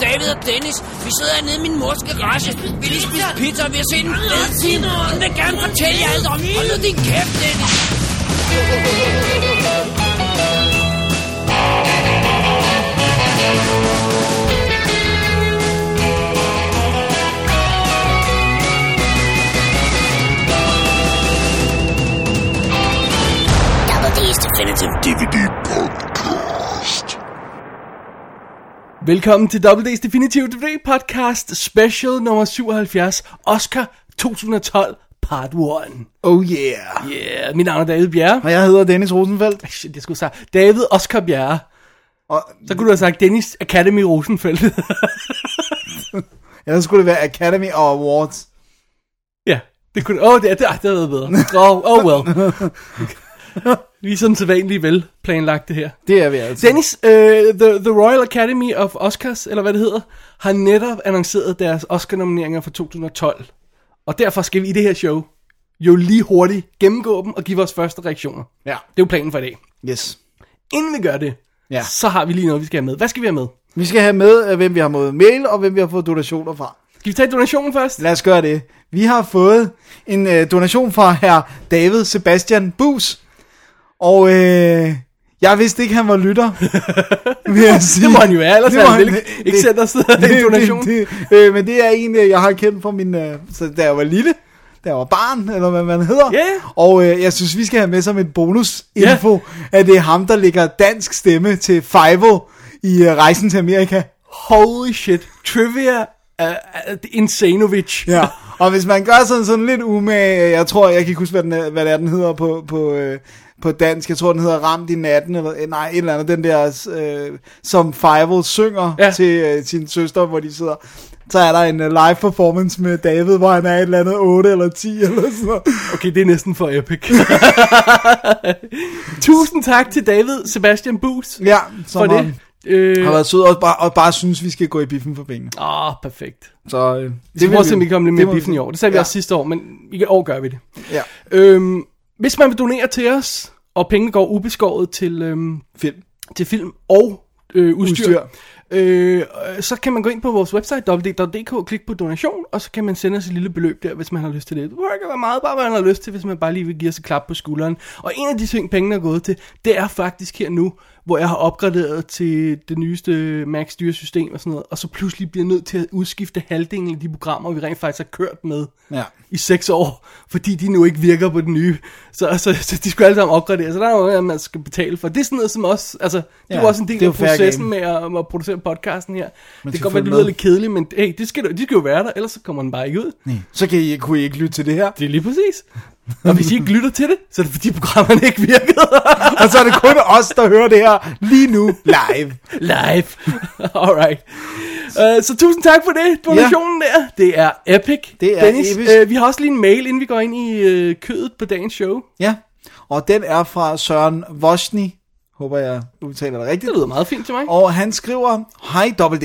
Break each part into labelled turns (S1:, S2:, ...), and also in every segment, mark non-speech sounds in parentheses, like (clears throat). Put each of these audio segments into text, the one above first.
S1: Dennis. Vi sidder nede i min mors garage. Vi lige spise pizza, og vi har set en fed film. Hun vil gerne fortælle jer alt om. Hold nu din kæft, Dennis.
S2: Double D's Definitive DVD Podcast.
S3: Velkommen til WD's Definitive DVD Podcast Special nummer 77, Oscar 2012 Part 1.
S4: Oh yeah.
S3: Yeah, mit navn er David Bjerre.
S4: Og jeg hedder Dennis Rosenfeldt.
S3: Ej, Shit, jeg skulle sige David Oscar Bjerre.
S4: Og
S3: Så kunne du have sagt Dennis Academy Rosenfeldt. (laughs)
S4: ellers skulle det være Academy Awards.
S3: ja, det kunne... Åh, oh, det, det, ah, det havde været bedre. Oh, oh well. Vi er sådan sædvanligt velplanlagt det her.
S4: Det er vi altså.
S3: Dennis, uh, the, the Royal Academy of Oscars, eller hvad det hedder, har netop annonceret deres Oscar-nomineringer for 2012. Og derfor skal vi i det her show jo lige hurtigt gennemgå dem og give vores første reaktioner.
S4: Ja.
S3: Det er jo planen for i dag.
S4: Yes.
S3: Inden vi gør det,
S4: Ja.
S3: så har vi lige noget, vi skal have med. Hvad skal vi have med?
S4: Vi skal have med, øh, hvem vi har fået mail, og hvem vi har fået donationer fra.
S3: Skal vi tage donationen først?
S4: Lad os gøre det. Vi har fået en øh, donation fra herr David Sebastian Bus. Og øh, jeg vidste ikke, han var
S3: (laughs)
S4: lytter. vil jeg sige.
S3: Det må han jo være, ellers
S4: Det
S3: har
S4: må
S3: han vel ikke- ikke sendt os (laughs) en donation.
S4: Det, det, øh, men det er en, øh, jeg har kendt fra min, øh, så da jeg var lille. Da jeg var barn, eller hvad man hedder.
S3: Ja.
S4: Og øh, jeg synes, vi skal have med som en bonusinfo, at det er ham, der lægger dansk stemme til Fivo i øh, Rejsen til Amerika.
S3: Holy shit. Trivia uh, uh, Insanovic.
S4: Ja, og hvis man gør sådan, sådan lidt umage, jeg tror, jeg kan ikke huske, hvad, den, er- hvad det er, den hedder på, på, øh, på dansk. Jeg tror, den hedder Ramt i natten, eller øh, nej, et eller andet, den der, øh, som Fivel synger
S3: Ja.
S4: ja. til øh, sin søster, hvor de sidder. Så er der en øh, live performance med David, hvor han er et eller andet 8 eller 10 (laughs) eller sådan noget.
S3: Okay, det er næsten for epic. (laughs) Tusind tak til David Sebastian Bus
S4: Ja, som
S3: for det. Øh,
S4: Har været sød og bare, og bare synes, vi skal gå i biffen for pengene.
S3: Åh, oh, perfekt.
S4: Så, øh,
S3: Det skal
S4: vil
S3: prøve at se, om vi kommer lidt mere
S4: det må
S3: i
S4: vi
S3: biffen
S4: se.
S3: i år. Det sagde ja. vi
S4: ja.
S3: også sidste år, men i år gør vi det.
S4: Ja,
S3: Øhm, hvis man vil donere til os, og pengene går ubeskåret til, øhm,
S4: film.
S3: til film og øh, udstyr,
S4: Udstyr.
S3: Øh, øh, så kan man gå ind på vores website www.dk, klik på donation, og så kan man sende os et lille beløb der, hvis man har lyst til det. Det behøver ikke være meget, bare hvad man har lyst til, hvis man bare lige vil give os et klap på skulderen. Og en af de ting, pengene er gået til, det er faktisk her nu, hvor jeg har opgraderet til det nyeste Mac styresystem og sådan noget, og så pludselig bliver jeg nødt til at udskifte halvdelen af de programmer, vi rent faktisk har kørt med
S4: Ja.
S3: i seks år, fordi de nu ikke virker på den nye. Så, så, så de skulle alle sammen opgradere, så der er noget, man skal betale for. Det er sådan noget som også, altså, det ja,
S4: Ja,
S3: var også en del
S4: det er
S3: af
S4: jo fair
S3: processen
S4: game.
S3: med at, at producere podcasten her. det kan
S4: skal
S3: godt være, det
S4: følge
S3: lyder
S4: med.
S3: lidt kedeligt, men hey, det skal, du- de skal jo være der, ellers så kommer den bare ikke ud.
S4: Så kan I, kunne I ikke lytte til det her.
S3: Det er lige præcis. Og hvis I ikke lytter til det, så er det fordi programmerne ikke virkede (laughs)
S4: Og så er det kun os, der hører det her lige nu live.
S3: live. (laughs) Alright. Uh, så tusind tak for det, donationen ja. der. Det er epic.
S4: Det er
S3: Dennis,
S4: episk.
S3: Uh, vi har også lige en mail, inden vi går ind i uh, kødet på dagens show.
S4: Ja, og den er fra Søren Vosni, håber jeg udtaler det rigtigt.
S3: Det lyder meget fint til mig.
S4: Og han skriver, Hej WD,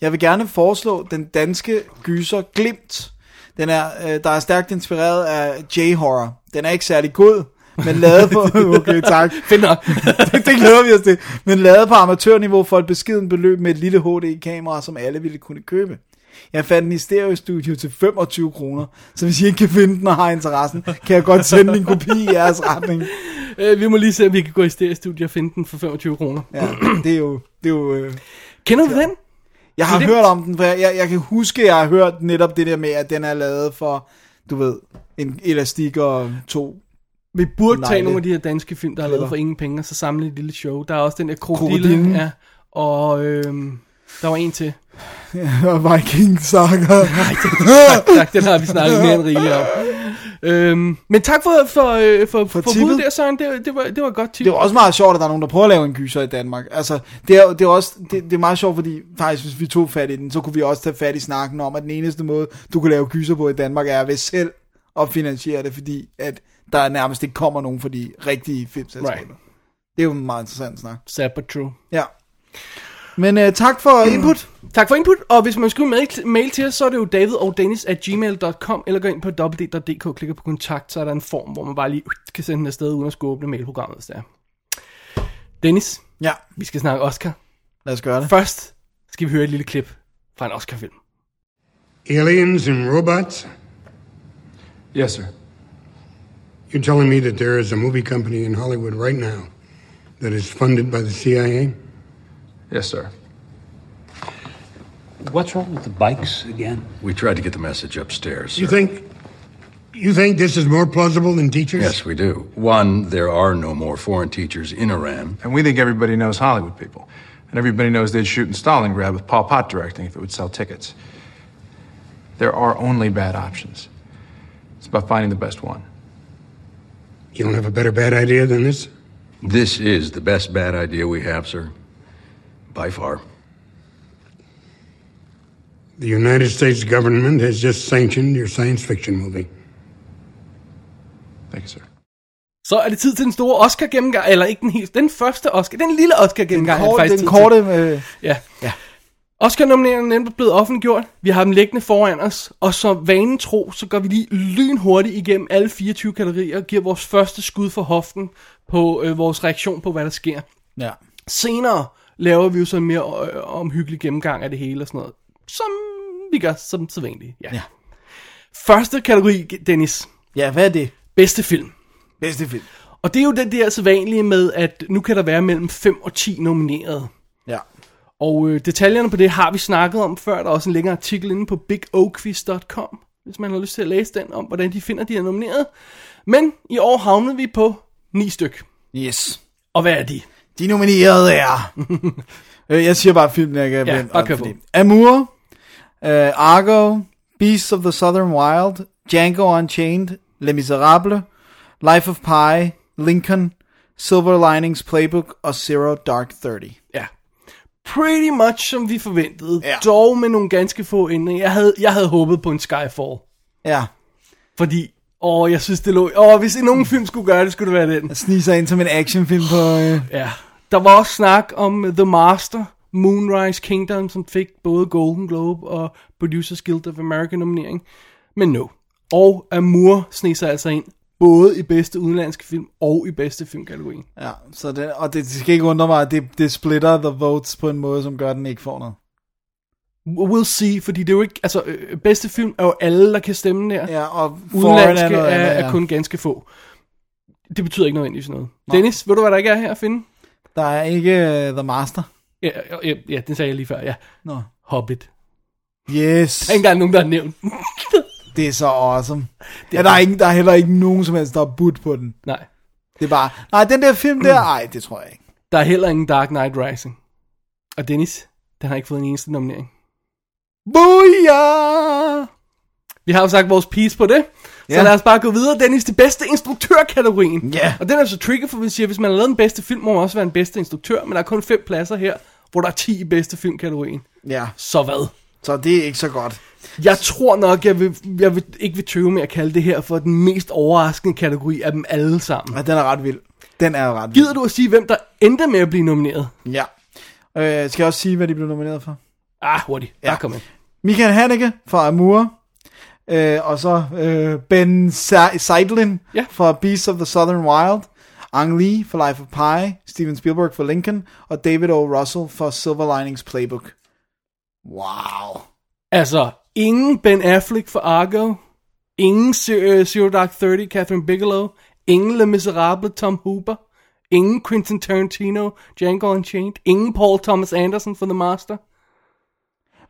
S4: jeg vil gerne foreslå den danske gyser Glimt. Den er, øh, der er stærkt inspireret af J-horror. Den er ikke særlig god, men lavet på... (laughs) Okay, tak. (laughs)
S3: Fedt nok.
S4: det, det glæder vi os til. Men lavet på amatørniveau for et beskeden beløb med et lille HD-kamera, som alle ville kunne købe. Jeg fandt den i Stereo Studio til 25 kroner, så hvis I ikke kan finde den og har interessen, kan jeg godt sende en kopi i jeres retning.
S3: (laughs) Øh, vi må lige se, om vi kan gå i stereostudie og finde den for 25 kroner.
S4: Ja, det er jo... Det er jo øh...
S3: Kender du den?
S4: Jeg har
S3: Det-
S4: det... hørt om den, for jeg, jeg, jeg kan huske, jeg har hørt netop det der med, at den er lavet for, du ved, en elastik og to. (laughs)
S3: Vi burde Nej,
S4: Nej,
S3: tage
S4: det-
S3: nogle af de her danske film, der er lavet
S4: Klipper.
S3: for ingen penge, og så samle et lille show. Der er også den der krokodille,
S4: Krokodillen.
S3: ja, og øhm, der var en til.
S4: Viking sakker.
S3: Tak, tak, den har vi snakket mere end rigeligt om. Øhm, men tak for, for, øh, for, for, for budet
S4: tippet.
S3: der, Søren. Det, det, var, det var et godt tip.
S4: Det er jo også meget sjovt, at der er nogen, der prøver at lave en gyser i Danmark. Altså, det er, jo- det er også det, det er meget sjovt, fordi faktisk, hvis vi tog fat i den, så kunne vi også tage fat i snakken om, at den eneste måde, du kan lave gyser på i Danmark, er ved selv at finansiere det, fordi at der nærmest ikke kommer nogen for de rigtige filmselskaber.
S3: Right.
S4: Right. Det er jo en meget interessant snak.
S3: Sad but true.
S4: Ja. Men uh, tak for input.
S3: Tak for input, og hvis man skulle mail, mail til os, så er det jo david og dennis at gmail.com, eller gå ind på www.dk og klikker på kontakt, så er der en form, hvor man bare lige uh, kan sende den afsted, uden at skulle åbne mailprogrammet, hvis det er. Dennis,
S4: Ja,
S3: vi skal snakke Oscar.
S4: lad os gøre det.
S3: Først skal vi høre et lille klip fra en Oscar-film.
S5: Aliens and robots?
S6: Yes, sir.
S5: You're telling me that there is a movie company in Hollywood right now that is funded by the CIA?
S6: Yes, sir.
S7: What's wrong with the bikes again?
S6: We tried to get the message upstairs. Sir.
S5: You think you think this is more plausible than teachers?
S6: Yes, we do. One, there are no more foreign teachers in Iran.
S8: And we think everybody knows Hollywood people. And everybody knows they'd shoot in Stalingrad with Paul Pot directing if it would sell tickets. There are only bad options. It's about finding the best one.
S5: You don't have a better bad idea than this?
S6: This is the best bad idea we have, sir. By far.
S5: The United States government has just sanctioned your science fiction movie.
S8: Thank you, sir.
S3: Så er det tid til den store Oscar-gennemgang, eller ikke den helt, den første Oscar, den lille Oscar-gennemgang. er det
S4: Kort,
S3: faktisk
S4: den
S3: tid til.
S4: korte... Øh,
S3: Ja. ja. Oscar-nomineringerne er nemlig blevet offentliggjort. Vi har dem liggende foran os. Og så vanen tro, så går vi lige lynhurtigt igennem alle 24 kategorier og giver vores første skud for hoften på øh, vores reaktion på, hvad der sker.
S4: ja.
S3: Senere laver vi jo så en mere øh, omhyggelig gennemgang af det hele og sådan noget. Som vi gør som sædvanligt. Ja.
S4: Ja.
S3: ja. Første kategori, Dennis.
S4: ja, hvad er det?
S3: Bedste film.
S4: Bedste film.
S3: Og det er jo den der sædvanlige med, at nu kan der være mellem 5 og 10 nominerede.
S4: Ja.
S3: Og øh, detaljerne på det har vi snakket om før. Der er også en længere artikel inde på bigoquiz.com, hvis man har lyst til at læse den, om hvordan de finder de her nominerede. Men i år havnede vi på 9 styk.
S4: Yes.
S3: Og hvad er de?
S4: De nominerede er... (laughs) Øh, jeg siger bare filmen, jeg kan
S3: Ja,
S4: vende
S3: bare
S4: op,
S3: kør
S4: fordi-
S3: på.
S4: Amour, øh, Argo, Beasts of the Southern Wild, Django Unchained, Les Miserables, Life of Pi, Lincoln, Silver Linings Playbook og Zero Dark Thirty.
S3: Ja. Pretty much som vi forventede.
S4: Ja.
S3: Ja. Dog med nogle ganske få ændringer. Jeg havde, jeg havde håbet på en Skyfall.
S4: Ja,
S3: Fordi, åh, jeg synes det lå... Åh, hvis nogen film skulle gøre det, skulle det være den.
S4: jeg sniger sig ind som en actionfilm på... Øh,
S3: Ja. Der var også snak om øh, The Master, Moonrise Kingdom, som fik både Golden Globe og Producers Guild of America nominering. Men no. Og Amour sneg sig altså ind, både i bedste udenlandske film og i bedste filmkategorien.
S4: ja, så det, og det, det skal ikke undre mig, at det, det splitter the votes på en måde, som gør, at den ikke får noget.
S3: We'll see, fordi det er jo ikke... Altså, øh, bedste film er jo alle, der kan stemme der.
S4: Ja, og foreign
S3: Udenlandske er,
S4: noget andet,
S3: er
S4: ja.
S3: kun ganske få. Det betyder ikke nødvendigvis noget. Dennis, ved du, hvad der ikke er her at finde?
S4: Der er ikke uh, The Master.
S3: Ja, ja, ja, den sagde jeg lige før, ja.
S4: Nå.
S3: Hobbit. Der
S4: Yes.
S3: er ikke engang nogen, der har nævnt (laughs) den.
S4: Det er så awesome. Det er, der, er ikke, der er heller ikke nogen som helst, der har budt på den.
S3: Nej.
S4: Det er bare, nej, den der film der, nej, det tror jeg ikke.
S3: Der er heller ingen Dark Knight Rising. Og Dennis, den har ikke fået en eneste nominering.
S4: Booyah!
S3: Vi har jo sagt vores piece på det. Så
S4: Ja.
S3: lad os bare gå videre, Dennis, til bedste instruktørkategorien.
S4: Ja.
S3: Og den er så trigger, for vi siger, at hvis man har lavet den bedste film, må man også være en bedste instruktør. Men der er kun fem pladser her, hvor der er 10 i bedste filmkategorien.
S4: Ja,
S3: Så hvad?
S4: så det er ikke så godt.
S3: Jeg tror nok, jeg, vil, jeg vil, ikke vil tøve med at kalde det her for den mest overraskende kategori af dem alle sammen.
S4: Men den er ret vild. Den er ret vild.
S3: Gider du at sige, hvem der endte med at blive nomineret?
S4: Ja. Øh, skal jeg også sige, hvad de blev nomineret for?
S3: Ah, hurtigt. Ja.
S4: Ja.
S3: Bare kom ind.
S4: Michael Haneke fra Amour. Øh, og så øh, Ben Sa- Seidlin
S3: Ja.
S4: fra Beasts of the Southern Wild. Ang Lee for Life of Pi. Steven Spielberg for Lincoln. Og David O. Russell for Silver Linings Playbook. Wow.
S3: Altså, ingen Ben Affleck for Argo, ingen Zero, Zero Dark 30, Catherine Bigelow, ingen Le Miserable, Tom Hooper, ingen Quentin Tarantino, Django Unchained, ingen Paul Thomas Anderson for The Master.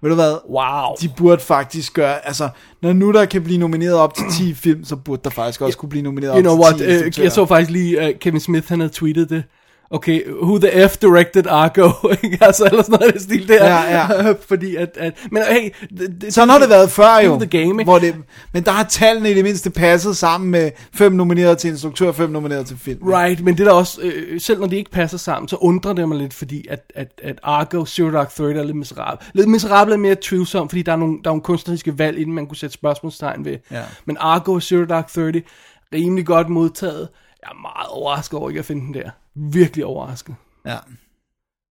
S4: Ved du hvad?
S3: Wow.
S4: De burde faktisk gøre, altså, når nu der kan blive nomineret op til 10 film, så burde der faktisk også kunne blive nomineret
S3: You know
S4: op
S3: what,
S4: til 10
S3: uh, jeg så faktisk lige, uh, Kevin Smith han havde tweetet det. Okay, who the F directed Argo, (laughs) ikke? altså, eller sådan noget af det stil der.
S4: Ja, ja.
S3: (laughs) Fordi at, at, men hey, det, det,
S4: Sådan har det været før jo,
S3: the game, ikke?
S4: hvor det, men der har tallene i det mindste passet sammen med fem nomineret til instruktør, fem nomineret til film.
S3: Right, men det er der også, øh, selv når de ikke passer sammen, så undrer det mig lidt, fordi at, at, at Argo, Zero Dark Third er lidt miserable. Lidt miserable er mere tvivlsom, fordi der er nogle, der er nogle kunstneriske valg, inden man kunne sætte spørgsmålstegn ved.
S4: Ja.
S3: Men Argo og Zero Dark Thirty, rimelig godt modtaget. Jeg er meget overrasket over ikke at finde den der. Virkelig overrasket.
S4: Ja.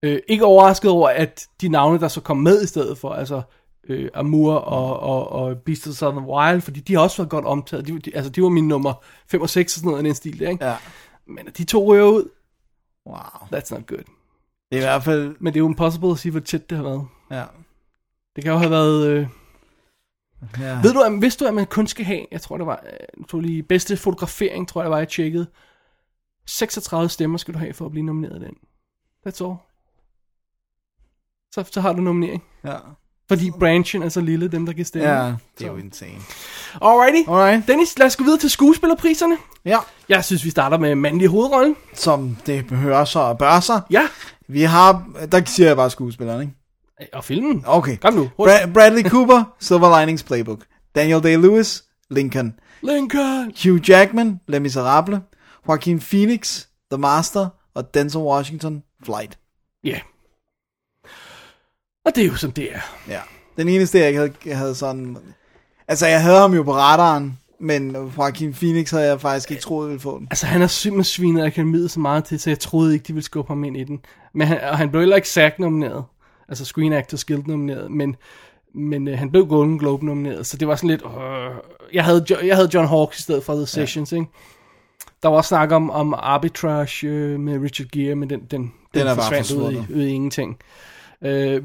S3: Øh, ikke overrasket over, at de navne, der så kom med i stedet for, altså øh, Amour og, og, og Beast of the Southern Wild, fordi de har også været godt omtaget. De, de, altså, de var mine nummer 5 og 6 og sådan noget i den stil der, ikke?
S4: Ja.
S3: Men at de to rører ud,
S4: Wow.
S3: That's not good.
S4: Det er i hvert fald,
S3: Men det er jo impossible at sige, hvor tæt det har været.
S4: ja.
S3: Det kan jo have været... Øh...
S4: Ja.
S3: Ved du, at, vidste du, at man kun skal have, jeg tror, det var, øh, nu tog jeg lige, bedste fotografering, tror jeg, det var, jeg tjekkede. 36 stemmer skal du have for at blive nomineret i den. That's all. Så, så har du nominering.
S4: Ja.
S3: Fordi branchen er så lille, dem der kan stemme.
S4: ja. Det er jo insane.
S3: Alrighty.
S4: Alright.
S3: Dennis, lad os gå videre til skuespillerpriserne.
S4: Ja.
S3: Jeg synes, vi starter med mandlig hovedrolle.
S4: Som det behøver sig og bør sig.
S3: Ja.
S4: Vi har, der siger jeg bare skuespilleren, ikke?
S3: Og filmen.
S4: Okay.
S3: Kom nu. Hurtigt.
S4: Bra- Bradley Cooper, Silver Linings Playbook. Daniel Day-Lewis, Lincoln.
S3: Lincoln.
S4: Hugh Jackman, Les Miserables. Joaquin Phoenix, The Master. Og Denzel Washington, Flight.
S3: Ja. Yeah. Og det er jo som det er.
S4: Ja. Den eneste, jeg ikke havde, jeg havde sådan... Altså, jeg havde ham jo på radaren, men Joaquin Phoenix havde jeg faktisk ikke troet ville få den.
S3: Altså, han har simpelthen svinet akademiet så meget til, så jeg troede ikke, de ville skubbe ham ind i den. Men han, og han blev heller ikke SAG nomineret. Altså Screen Actors Guild nomineret. Men, men øh, han blev Golden Globe nomineret, så det var sådan lidt... Øh, jeg, havde, Jo- jeg havde John Hawkes i stedet for The Sessions, ikke? Der var også snak om, om arbitrage øh, med Richard Gere, men den, den, den,
S4: er bare
S3: ud i,
S4: forsvundet.
S3: ud i ingenting. Øh,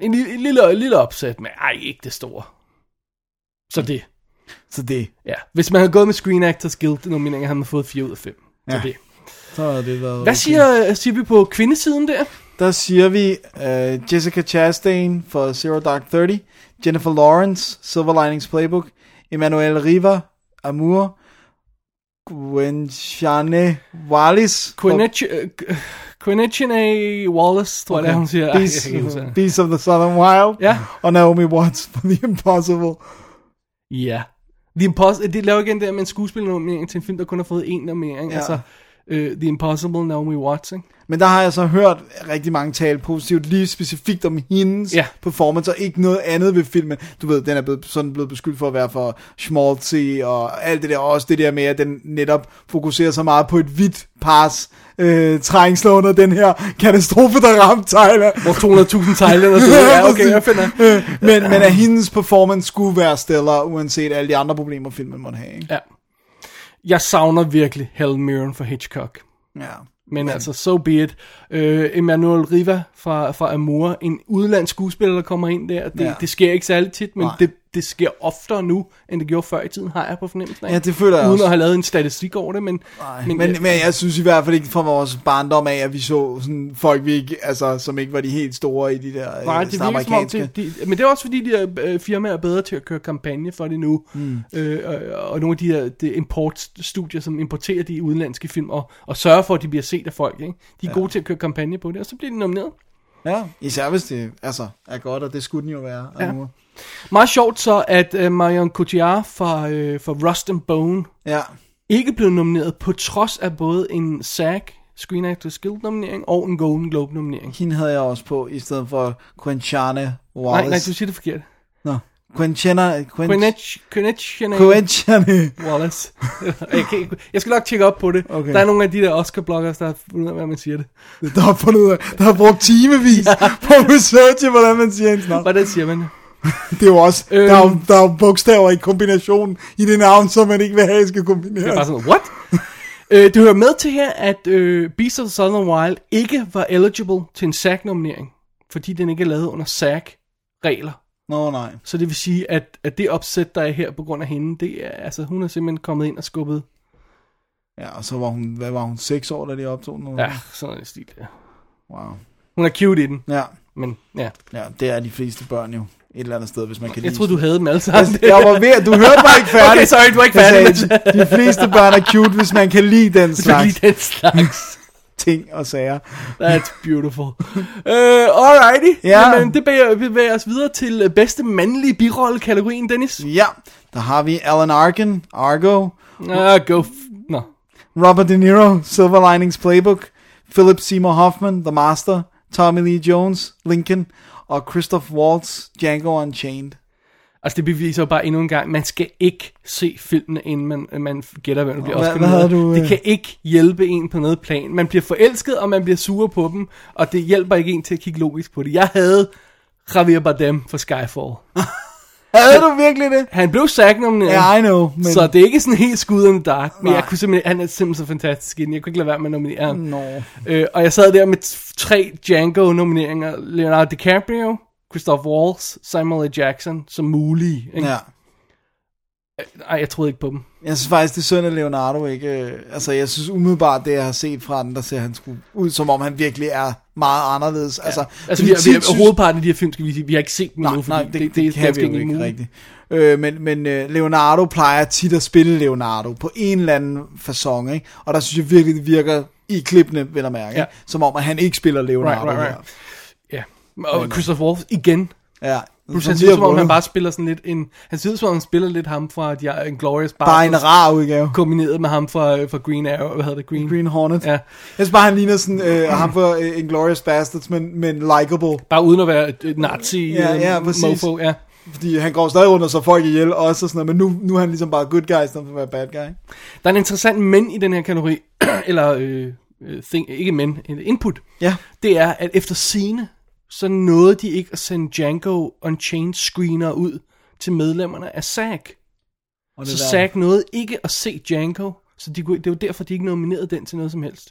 S3: en, lille, en lille, en lille opsæt, men ej, ikke det store.
S4: Mm.
S3: Så det...
S4: Så det,
S3: Ja, hvis man havde gået med Screen Actors Guild nomineringer, havde man fået 4 ud af 5. Ja. Så
S4: Ja.
S3: det.
S4: så havde det været...
S3: Hvad siger, siger vi på kvindesiden der?
S4: Der siger vi uh, Jessica Chastain for Zero Dark Thirty, Jennifer Lawrence, Silver Linings Playbook, Emmanuel Riva, Amour, Gwenchane Wallis.
S3: Quinichine øh, Wallace, tror jeg, det er, hun siger. Ej, jeg kan ikke huske
S4: Beast,
S3: det.
S4: Beast of the Southern Wild,
S3: Ja.
S4: og Naomi Watts for The Impossible.
S3: Ja. The Impossible, det laver igen der med en skuespillernominering til en film, der kun har fået én nominering.
S4: Ja.
S3: Ja. Altså, uh, The Impossible, Naomi Watts, ikke?
S4: Men der har jeg så hørt rigtig mange tale positivt, lige specifikt om hendes
S3: Ja.
S4: ja. performance, og ikke noget andet ved filmen. Du ved, den er blevet, sådan blevet beskyldt for at være for schmaltzy, og alt det der, også det der med, at den netop fokuserer så meget på et hvidt pars, øh, trængsler under den her katastrofe, der ramte Thailand.
S3: Hvor 200.000 thailænder døde. (laughs) Ja, okay, jeg finder.
S4: Øh, men, men at hendes performance skulle være stiller, uanset alle de andre problemer, filmen måtte have. Ikke?
S3: Ja. Jeg savner virkelig Helen Mirren for Hitchcock.
S4: Ja.
S3: Men altså, so be it. Øh, Emmanuel Riva fra, fra Amour, en udenlandsk skuespiller, der kommer ind der. Det, ja.
S4: Ja.
S3: det sker ikke særlig tit, men
S4: Nej.
S3: det, det sker oftere nu, end det gjorde før i tiden, har jeg på fornemmelsen af.
S4: Ja, det føler jeg
S3: Uden
S4: også.
S3: at have lavet en statistik over det, men...
S4: Nej, men, men, øh, men jeg synes i hvert fald ikke fra vores barndom af, at vi så sådan folk, vi ikke, altså, som ikke var de helt store i de der
S3: Nej,
S4: Nej,
S3: det
S4: det
S3: virker som om,
S4: amerikanske.
S3: det, de, men det er også fordi, de her øh, firmaer er bedre til at køre kampagne for det nu. Mm. Øh, og, og nogle af de her de importstudier, som importerer de udenlandske film, og, og sørger for, at de bliver set af folk. Ikke? De er ja. gode til at køre kampagne på det, og så bliver de nomineret.
S4: Ja, især hvis det altså, er godt, og det skulle den jo være.
S3: Ja.
S4: Ja.
S3: Meget sjovt så, at øh, Marion Cotillard fra, øh, fra Rust and Bone
S4: ja.
S3: ikke blev nomineret, på trods af både en SAG, Screen Actors Guild nominering, og en Golden Globe nominering.
S4: Hende havde jeg også på, i stedet for Quenchane Wallace.
S3: Nej, nej, du siger det forkert.
S4: Nå, Quenchana... Quen...
S3: Quenetch
S4: Quenchane...
S3: Wallace. (laughs) jeg, kan, ikke- jeg skal nok tjekke op på det.
S4: Okay.
S3: Der er nogle af de der Oscar-bloggers, der har fundet ud af, hvad man siger det.
S4: Der har fundet ud af, der har brugt timevis på at researche, hvordan man siger hendes navn.
S3: Hvordan siger man det?
S4: Det er jo også,
S3: Øhm.
S4: der, er jo, der er jo bogstaver i kombination i det navn, som man ikke vil have, skal
S3: Jeg er
S4: kombineres.
S3: bare sådan,
S4: (laughs)
S3: what? øh, det hører med til her, at øh, Beast of the Southern Wild ikke var eligible til en SAG-nominering, fordi den ikke er lavet under SAG-regler.
S4: Nå, nej.
S3: Så det vil sige, at, at det opsæt, der er her på grund af hende, det er, altså hun er simpelthen kommet ind og skubbet.
S4: Ja, og så var hun, hvad var hun, seks år, da de optog den?
S3: Ja, sådan en stil. Ja.
S4: Wow.
S3: Hun er cute i den,
S4: Ja,
S3: men ja.
S4: ja, det er de fleste børn jo. Et eller andet sted, hvis man kan
S3: Jeg
S4: lide
S3: troede, du havde dem alle sammen.
S4: (laughs) Altså, jeg var ved, at- du hørte mig ikke
S3: (laughs)
S4: færdig.
S3: Okay, sorry, du var ikke
S4: Jeg
S3: færdig.
S4: sagde, de fleste børn er cute, hvis man kan lide
S3: (laughs)
S4: den
S3: Du kan
S4: slags
S3: lide den
S4: (laughs)
S3: slags.
S4: ting og sager.
S3: That's beautiful. Uh, alrighty.
S4: Ja.
S3: Jamen, det bevæger, bevæger os videre til øh, bedste mandlige birolle-kategorien, Dennis.
S4: Ja, der har vi Alan Arkin, Argo,
S3: Uh, go f- Nå.
S4: Robert De Niro, Silver Linings Playbook, Philip Seymour Hoffman, The Master, Tommy Lee Jones, Lincoln, og Christoph Waltz, Django Unchained.
S3: Altså, det beviser jo bare endnu en gang, man skal ikke se filmene, inden man, man gætter, hvem der bliver
S4: Hvad-
S3: Oscar.
S4: hvad havde
S3: nomineret.
S4: du,
S3: Det
S4: øh?
S3: kan ikke hjælpe en på noget plan. Man bliver forelsket, og man bliver sur på dem, og det hjælper ikke en til at kigge logisk på det. Jeg havde Javier Bardem for Skyfall.
S4: Havde du virkelig det?
S3: Han blev SAG-nomineret.
S4: Ja, I know,
S3: Men...
S4: men-
S3: Så det er ikke sådan helt skud in the dark, men
S4: Nej.
S3: jeg kunne simpelthen, han er simpelthen så fantastisk i den. Jeg kunne ikke lade være med at nominere ham.
S4: Nå.
S3: Øh, og jeg sad der med t- tre Django-nomineringer. Leonardo DiCaprio, Christoph Waltz, Samuel L. Jackson som mulige. Ikke? Øh,
S4: Ja.
S3: Ej, jeg troede ikke på dem.
S4: Jeg synes faktisk, det er synd, at Leonardo ikke... øh, Altså, jeg synes umiddelbart, det jeg har set fra den, der ser han sgu ud, som om han virkelig er meget anderledes. Ja. Altså,
S3: Altså,
S4: fordi
S3: vi, vi,
S4: tit synes-
S3: hovedparten af de her film, skal vi sige, vi har ikke set dem
S4: Nej,
S3: endnu, fordi
S4: nej, det, det, det kan vi
S3: ganske
S4: jo ikke
S3: enkelt
S4: muligt.
S3: muligt.
S4: rigtigt. Øh, men men øh, Leonardo plejer tit at spille Leonardo på en eller anden façon, ikke? Og der synes jeg virkelig, det virker i klippene, vil jeg mærke.
S3: Ja.
S4: ikke? Som om, at han ikke spiller Leonardo
S3: Right, right, right. Ja. Og Christoph Waltz igen.
S4: her. Ja.
S3: Plus,
S4: Så
S3: han
S4: de
S3: ser ud
S4: har
S3: som om, han
S4: vundet.
S3: bare spiller sådan lidt en... Han ser ud som om, han spiller lidt ham fra de, Glorious Bastards.
S4: bare en rar udgave.
S3: Kombineret med ham fra, fra Green Arrow. Hvad hedder det? Green,
S4: Green Hornet.
S3: Ja.
S4: Jeg synes bare, han ligner sådan, øh, ham for øh, Inglourious Bastards, men, men likable.
S3: Bare uden at være et, et nazi
S4: Ja,
S3: øh,
S4: ja, præcis.
S3: mofo. Ja.
S4: Fordi han går stadig rundt og så folk ihjel også, og sådan noget, men nu, nu er han ligesom bare good guy, i stedet for at være bad guy.
S3: Der er en interessant men i den her kategori. (clears throat) eller... Øh, øh, thing, ikke men, en input.
S4: Ja.
S3: det er, at efter scene, så nåede de ikke at sende Django Unchained screener ud til medlemmerne af SAG.
S4: Og
S3: Så
S4: der-
S3: SAG nåede ikke at se Django, så de kunne, det var derfor, de ikke nominerede den til noget som helst.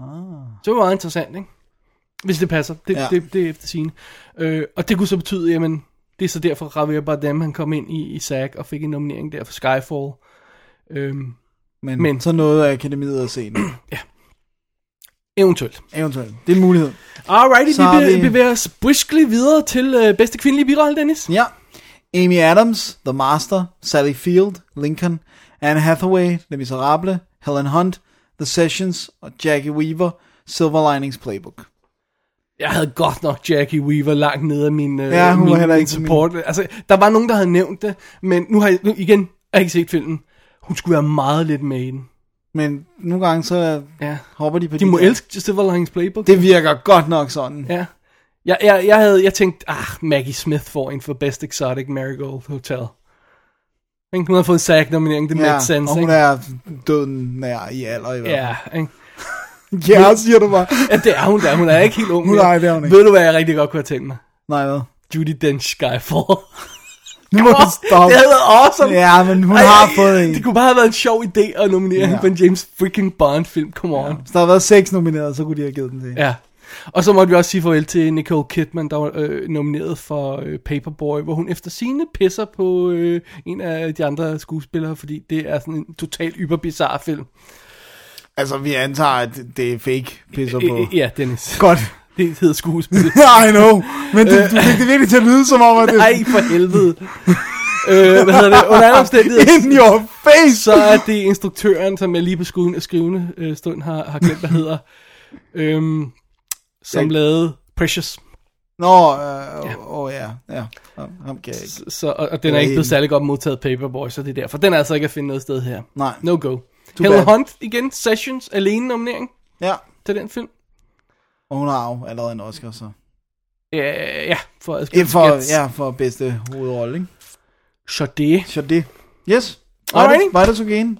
S3: Ah. Så det var meget interessant, ikke? Hvis det passer. Det,
S4: Ja.
S3: ja. det, det er efter scene. Øh, og det kunne så betyde, jamen, det er så derfor Javier Bardem, han kom ind i, i SAG og fik en nominering der for Skyfall. Øhm,
S4: Men, men,
S3: Men-
S4: så noget af akademiet at se den.
S3: eventuelt.
S4: (clears throat) Eventuelt. Det er en mulighed.
S3: Alrighty,
S4: Så
S3: så vi,
S4: har
S3: be-
S4: vi-
S3: bevæger os briskly videre til øh, bedste kvindelige birolle, Dennis.
S4: Ja. Amy Adams, The Master, Sally Field, Lincoln, Anne Hathaway, Les Miserable, Helen Hunt, The Sessions og Jackie Weaver, Silver Linings Playbook.
S3: jeg havde godt nok Jackie Weaver langt nede af min, øh,
S4: Ja, hun var
S3: min,
S4: heller
S3: min
S4: ikke til min-
S3: support. Altså, der var nogen, der havde nævnt det, men nu har jeg, nu, igen, jeg har ikke set filmen. Hun skulle være meget lidt med i den.
S4: Men nogle gange så
S3: Ja.
S4: hopper de på
S3: De må
S4: der.
S3: elske Silver Linings Playbook.
S4: Det virker godt nok sådan.
S3: Ja. Jeg, jeg, jeg, havde, jeg tænkte, ah, Maggie Smith får en for Best Exotic Marigold Hotel. Ikke? Hun har fået en SAG-nominering, det makes sense.
S4: og hun
S3: ikke?
S4: er døden nær i alder i hvert fald.
S3: Ja, ikke?
S4: Ja, ja siger du
S3: (laughs)
S4: bare.
S3: ja, det er hun der. Hun er ikke helt ung.
S4: Hun er-
S3: mere.
S4: nej, det er hun ikke.
S3: Ved du, hvad jeg rigtig godt kunne have tænkt mig?
S4: Nej, hvad?
S3: Judy Dench Skyfall.
S4: Nu må du
S3: (laughs)
S4: stoppe.
S3: Det havde været awesome.
S4: Ja, men hun har fået en.
S3: Det kunne bare have været en sjov idé at nominere
S4: Ja.
S3: ja. hende på en James freaking Bond-film. Come on.
S4: Hvis der havde været seks nomineret, så kunne de have givet den til.
S3: Ja. ja. Og så måtte vi også sige farvel til Nicole Kidman, der var øh, nomineret for øh, Paperboy, hvor hun efter sine pisser på øh, en af de andre skuespillere, fordi det er sådan en totalt yberbizarre film.
S4: Altså, vi antager, at det er fake pisser på.
S3: Øh, ja, Dennis.
S4: Godt. (laughs)
S3: Det hedder skuespil.
S4: I know. Men
S3: Øh.
S4: du, du fik det virkelig til at lyde som om, at det
S3: Nej, for helvede. øh, hvad hedder det? Under alle omstændigheder,
S4: In your face!
S3: så er det instruktøren, som jeg lige på skuden af skrivende øh, stund har, har glemt, hvad hedder, øhm, som
S4: Jeg-
S3: lavede Precious.
S4: Nå, øh, åh åh, ja. Ja, ham ham kan jeg ikke.
S3: Så, og, og den er ikke blevet særlig godt modtaget Paperboy, så det er derfor. Den er altså ikke at finde noget sted her.
S4: Nej.
S3: No go. Helen
S4: bad.
S3: Hunt igen, Sessions, alene nominering
S4: Ja.
S3: til den film.
S4: Og hun har jo allerede en Oscar, så.
S3: Ja, ja for at
S4: Eh, For, ja, for bedste hovedrolle, ikke?
S3: Så det.
S4: Så det. Yes. Var
S3: Alright.
S4: det, var det Sugen?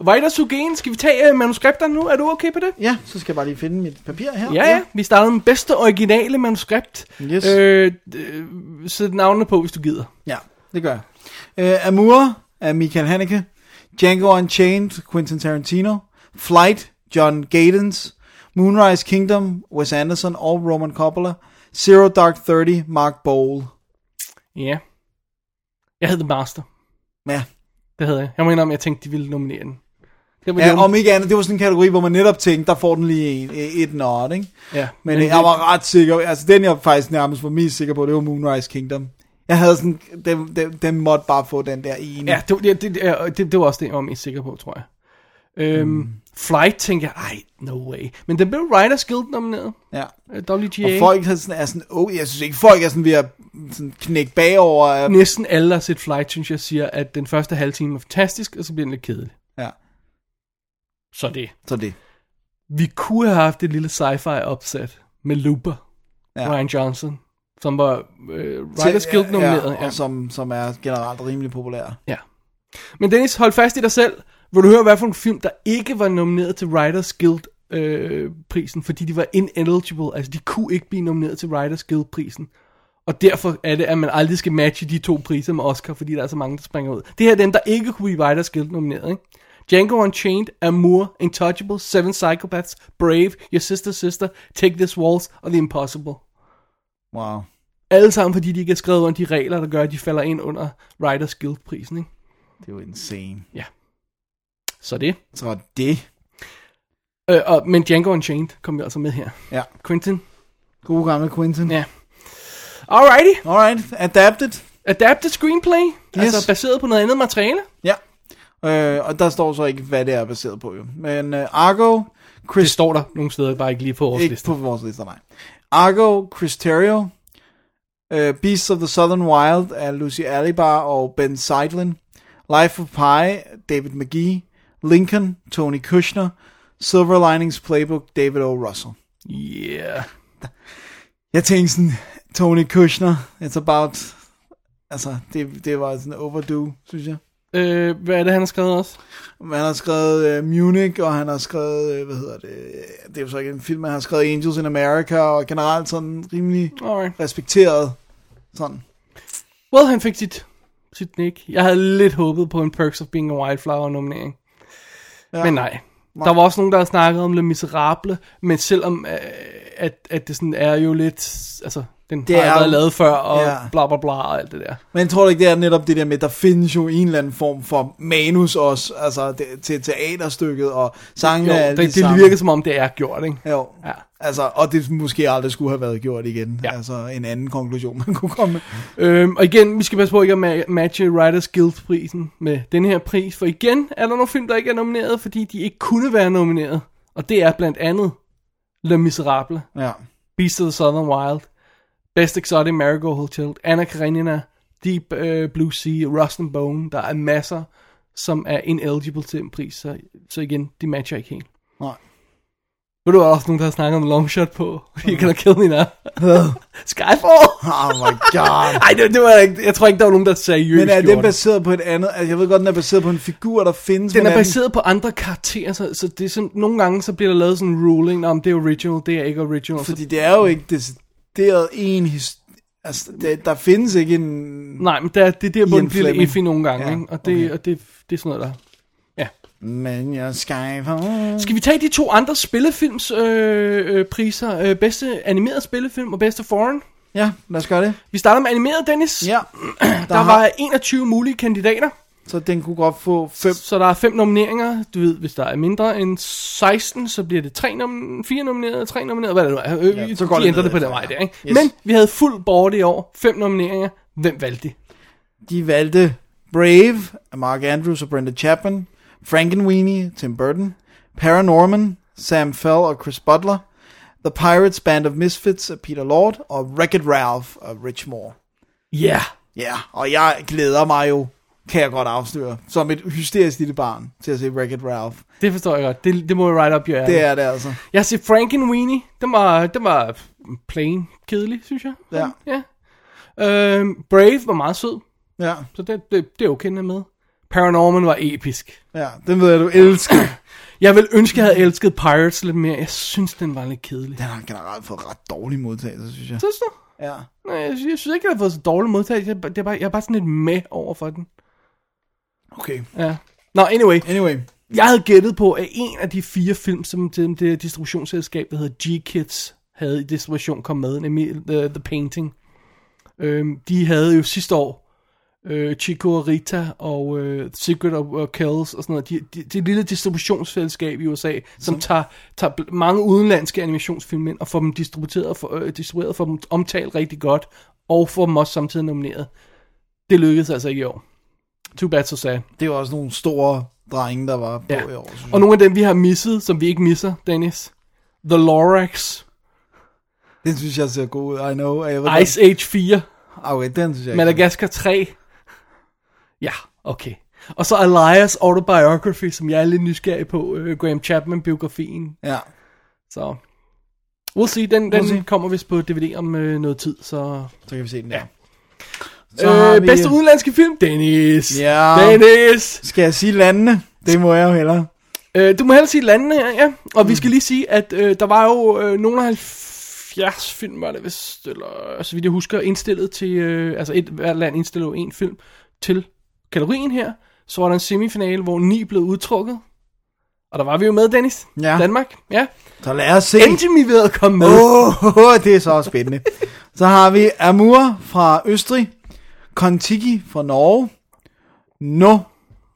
S3: Vejder Sugen, skal vi tage uh, manuskripter nu? Er du okay på det?
S4: Ja, så skal jeg bare lige finde mit papir her.
S3: Ja, ja. Vi starter med bedste originale manuskript.
S4: Yes.
S3: Øh, øh, sæt navnene på, hvis du gider.
S4: Ja, det gør jeg. Uh, Amour af Michael Haneke. Django Unchained, Quentin Tarantino. Flight, John Gadens. Moonrise Kingdom, Wes Anderson og Roman Coppola. Zero Dark Thirty, Mark Bowl.
S3: Ja. Jeg hed The Master.
S4: Ja,
S3: Det havde jeg. Jeg må indrømme, jeg tænkte, de ville nominere den. Det var
S4: ja
S3: ja,
S4: om ikke andet, det var sådan en kategori, hvor man netop tænkte, der får den lige en, et nod, ikke?
S3: ja,
S4: Men øh, jeg var ret sikker, altså den jeg faktisk nærmest var mest sikker på, det var Moonrise Kingdom. Jeg havde sådan, den, den, den måtte bare få den der ene.
S3: Ja, det, det, det, ja, det, det var også det, jeg var mest sikker på, tror jeg. Øhm,
S4: Mm.
S3: Flight tænkte jeg, ej, no way. Men den blev Writers Guild nomineret.
S4: ja.
S3: Øh, WGA.
S4: Og folk er sådan, er sådan oh, jeg synes ikke, folk er sådan ved at sådan knække bagover. Af,
S3: Næsten alle, der har set Flight, synes jeg, siger, at den første halve time er fantastisk, og så bliver den lidt kedelig.
S4: ja,
S3: Så det.
S4: så det.
S3: Vi kunne have haft et lille sci-fi opsat med Looper,
S4: Ja.
S3: ja. Ryan Johnson, som var øh, Writers Guild nomineret.
S4: Ja, og som, som er generelt rimelig populær.
S3: Ja. Men Dennis, hold fast i dig selv. Vil du høre, hvad for en film, der ikke var nomineret til Writers Guild øh, prisen, fordi de var ineligible, altså de kunne ikke blive nomineret til Writers Guild prisen. Og derfor er det, at man aldrig skal matche de to priser med Oscar, fordi der er så mange, der springer ud. Det her er dem, der ikke kunne blive Writers Guild nomineret, ikke? Django Unchained, Amour, Intouchable, Seven Psychopaths, Brave, Your Sister's Sister, Take This Waltz og The Impossible.
S4: Wow.
S3: Alle sammen, fordi de ikke er skrevet under de regler, der gør, at de falder ind under Writers Guild-prisen, ikke?
S4: Det er jo insane.
S3: Så det.
S4: Så det.
S3: Øh, og, men Django Unchained kom jo altså med her.
S4: Ja.
S3: Quentin.
S4: Gode gamle Quentin.
S3: Ja. Alrighty.
S4: Alright, adapted.
S3: Adapted screenplay. Yes.
S4: Yes.
S3: Altså baseret på noget andet materiale.
S4: Ja. Øh, og der står så ikke, hvad det er baseret på, jo. Men øh, Argo, Chris...
S3: Det står der nogle steder bare ikke lige på vores
S4: ikke
S3: liste.
S4: på vores liste, nej. Argo, Chris Terrio, øh, Beasts of the Southern Wild af Lucy Alibar og Ben Seidlin, Life of Pi, David McGee, Lincoln, Tony Kushner, Silver Linings Playbook, David O. Russell.
S3: Yeah.
S4: Jeg tænkte sådan, Tony Kushner, it's about... Altså, det, det var sådan overdue, synes jeg.
S3: Øh, hvad er det, han har skrevet også?
S4: Men Han har skrevet uh, Munich, og han har skrevet, uh, hvad hedder det, øh, det er jo så ikke en film, men han har skrevet Angels in America, og generelt sådan rimelig
S3: Alright.
S4: respekteret. Sådan.
S3: Well, han fik sit, sit nick. Jeg havde lidt håbet på en Perks of Being a Wildflower nominering. Ja. Men nej. Der var også nogen, der har snakket om Le Miserable, men selvom øh, at, at det sådan er jo lidt, altså, den
S4: Det
S3: det har
S4: er
S3: jo været
S4: jo-
S3: lavet før, og
S4: Ja.
S3: ja. bla bla bla og alt det der.
S4: Men tror du ikke, det er netop det der med, der findes jo en eller anden form for manus også, altså det, til teaterstykket, og sangene
S3: Jo,
S4: er
S3: det, det,
S4: samme.
S3: virker som om, det er gjort, ikke?
S4: Jo.
S3: Ja.
S4: Altså, og det måske aldrig skulle have været gjort igen.
S3: Ja.
S4: Altså, en anden konklusion, man kunne komme med.
S3: Øhm, og igen, vi skal passe på ikke at ma- matche Writers Guild-prisen med den her pris, for igen er der nogle film, der ikke er nomineret, fordi de ikke kunne være nomineret. Og det er blandt andet Le Miserable,
S4: Ja.
S3: Beast of the Southern Wild, Best Exotic Marigold Hotel, Anna Karenina, Deep øh, Blue Sea, Rust and Bone. Der er masser, som er ineligible til en pris, så, så igen, de matcher ikke helt.
S4: Nej.
S3: Ved du, der er også nogen, der har snakket om Longshot på. (laughs) You gonna kill me now. Skyfall!
S4: (laughs) Oh my
S3: (laughs)
S4: god.
S3: Ej, det, det var ikke, jeg tror ikke, der var nogen, der seriøst
S4: Men er
S3: gjorde
S4: den baseret på et andet? Altså, jeg ved godt, den er baseret på en figur, der findes.
S3: Den
S4: men
S3: er baseret på andre karakterer, så, så det er sådan, nogle gange så bliver der lavet sådan en ruling, om det er original, det er ikke original. Fordi...
S4: Fordi det er jo ikke decideret en historie. Altså, det, der findes ikke en...
S3: Nej, men der, det er der, hvor
S4: Ian
S3: den bliver lidt
S4: Fleming.
S3: iffy nogle gange,
S4: Ja,
S3: ja, ikke? og, det, okay. og det, det er sådan noget, der...
S4: Men jeg skal...
S3: Skal vi tage de to andre spillefilms øh, øh, priser? Øh, bedste animeret spillefilm og bedste foreign?
S4: Ja, lad os gøre det.
S3: Vi starter med animeret, Dennis.
S4: Ja. (clears throat)
S3: der, der var 21 mulige kandidater,
S4: Så den kunne godt få fem...
S3: så der er fem nomineringer. Du ved, hvis der er mindre end 16, så bliver det tre nom- fire nominerede, tre nominerede, hvad det nu er. Øh,
S4: Ja,
S3: ja,
S4: så
S3: så
S4: går
S3: de
S4: det
S3: ændrer det på
S4: nedad,
S3: den vej
S4: ja.
S3: der, ikke?
S4: Yes.
S3: Yes. Men vi havde fuld board i år. Fem nomineringer. Hvem valgte de?
S4: De valgte Brave af Mark Andrews og Brenda Chapman, Frankenweenie, Tim Burton, Paranorman, Sam Fell og Chris Butler, The Pirates Band of Misfits af Peter Lord og Wreck-It Ralph af Rich Moore.
S3: Ja. Yeah.
S4: Ja, yeah, og jeg glæder mig jo, kan jeg godt afsløre, som et hysterisk lille barn til at se Wreck-It Ralph.
S3: Det forstår jeg godt. Det, det må jeg right up your alley.
S4: Det er det altså.
S3: Jeg har set Frankenweenie. Den var, den var plain kedelig, synes jeg.
S4: Ja.
S3: ja. Øhm, Brave var meget sød,
S4: Ja,
S3: så det, det, det er okay, den er med. Paranorman var episk.
S4: ja. Den ved jeg, du elsker. (clears throat)
S3: Jeg vil ønske, jeg havde elsket Pirates lidt mere. Jeg synes, den var lidt kedelig.
S4: Den har generelt fået ret dårlig modtagelse, synes jeg.
S3: Synes du?
S4: Ja.
S3: Nej, jeg synes, jeg synes ikke, jeg har fået så dårlig modtagelse. Jeg, er bare- det er bare, jeg er bare sådan lidt med over for den.
S4: Okay.
S3: Ja. Nå, anyway.
S4: Anyway.
S3: Jeg havde gættet på, at en af de fire film, som det, det distributionsselskab, der hedder G-Kids, havde i distribution kom med, nemlig uh, The Painting. Øhm, de havde jo sidste år øh, Chico og Rita og øh, Secret of uh, Kells og sådan noget. De, de, det lille distributionsselskab i USA, som tager, tager bl- mange udenlandske animationsfilm ind og får dem distribueret, og får, øh, distribueret får dem omtalt rigtig godt, og får dem også samtidig nomineret. Det lykkedes altså ikke i år. Too bad, so sad.
S4: Det var også nogle store drenge, der var på ja. i år. synes
S3: Og nogle af dem, vi har misset, som vi ikke misser, Dennis. The Lorax,
S4: jeg. Den synes jeg ser god ud. I know. og Jeg ved
S3: Ice Age 4,
S4: godt- Okay, den synes jeg ikke.
S3: Madagascar 3. Ja, okay. Og så Elias Autobiography, som jeg er lidt nysgerrig på, øh, Graham Chapman-biografien.
S4: Ja.
S3: Så we'll see, den, den
S4: We'll see.
S3: kommer vist på DVD om øh, noget tid, så...
S4: Så kan vi se den der. Ja. Så har
S3: Øh,
S4: vi-
S3: bedste udenlandske film, Dennis.
S4: Ja.
S3: Dennis.
S4: Skal jeg sige landene? Det må jeg jo hellere.
S3: Øh, du må hellere sige landene her, ja. Og mm. vi skal lige sige, at øh, der var jo øh, nogle af 70 film, var det vist, eller altså, så vidt jeg husker, indstillet til, øh, altså et, hvert land indstillede jo en film til kategorien her. Så var der en semifinale, hvor ni blev udtrukket. Og der var vi jo med, Dennis.
S4: Ja.
S3: Danmark, ja.
S4: Så lad os se.
S3: Endelig vi ved at komme med.
S4: (laughs) Åh, oh, det er så også spændende. Så har vi Amur fra Østrig, Kontiki fra Norge, No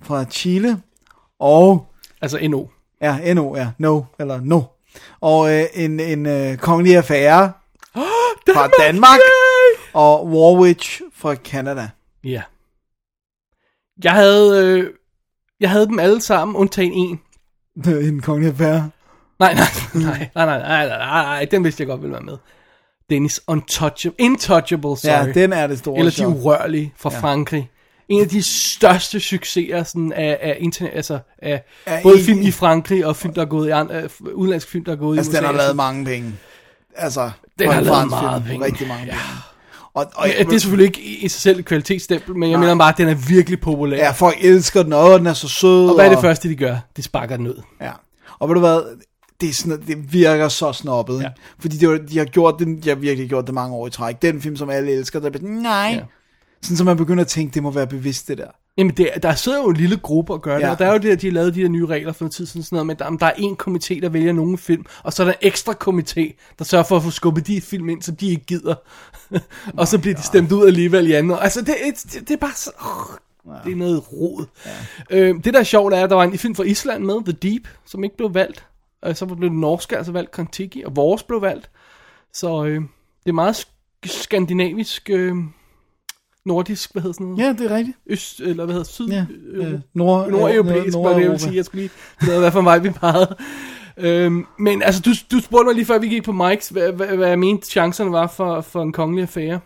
S4: fra Chile, og
S3: Altså NO.
S4: ja, NO, ja, No, eller No, og øh, en, en øh, kongelig affære fra Danmark, og Warwich fra Canada.
S3: Ja. Jeg havde, øh, jeg havde dem alle sammen, undtagen en.
S4: en kongelig affære.
S3: Nej, nej, nej, nej, nej, nej, nej, nej, nej, den vidste jeg godt ville være med. Dennis Untouchable, Intouchable, sorry.
S4: Ja, den er det store
S3: Eller
S4: chok.
S3: De Urørlige fra ja. Frankrig. En af de største succeser sådan, af, af, internet, altså, af,
S4: Af
S3: både
S4: en-
S3: film i Frankrig og film, der er gået i andre, af udenlandske film, der er gået
S4: Altså,
S3: i USA.
S4: den har lavet mange penge. Altså,
S3: Den
S4: for
S3: har
S4: en
S3: lavet
S4: fransk
S3: meget penge.
S4: Rigtig mange
S3: Ja.
S4: penge. Og, og
S3: Ja, det er selvfølgelig ikke i i sig selv et kvalitetsstempel, men jeg
S4: Nej.
S3: mener bare, at den er virkelig populær.
S4: ja, folk elsker den, og den er så sød.
S3: og hvad er det første, de gør? De sparker den ud.
S4: Ja. Og ved du hvad, det, er sådan, det virker så snobbet. Ja.
S3: Ja.
S4: Fordi det, var- de har gjort det, de har virkelig gjort det mange år i træk. Den film, som alle elsker, der bliver sådan, nej. Ja.
S3: Ja.
S4: Sådan, så man begynder at tænke, det må være bevidst, det der.
S3: Jamen, det, er- der sidder jo en lille gruppe og gør det,
S4: Ja.
S3: og der er jo det, at de har lavet de der nye regler for noget tid siden, sådan noget, men der, om der er en komité, der vælger nogle film, og så er der en ekstra komité, der sørger for at få skubbet de film ind, som de ikke gider. (laughs) og så bliver de stemt ud alligevel i anden. år. Altså, det, det, det, det er bare så... Oh, det er noget rod. Ja. Øh, det, der er sjovt, er, at der var en film fra Island med, The Deep, som ikke blev valgt. Og så blev den norske altså valgt Kontiki, og vores blev valgt. Så øh, det er meget sk- skandinavisk, øh, nordisk, hvad hedder sådan noget?
S4: Ja, det er rigtigt.
S3: øst, eller hvad hedder det, syd,
S4: Ja,
S3: ja. øh,
S4: øh, nord-
S3: nord, nordeuropæisk,
S4: nord-
S3: nord, det jeg
S4: Nordeuropa.
S3: vil sige, jeg skulle lige finde ud af, hvad for vej vi pegede. Øhm, men altså, du, du spurgte mig lige før vi gik på Mike's, hvad, hvad, hvad jeg mente chancerne var for, for en kongelig affære.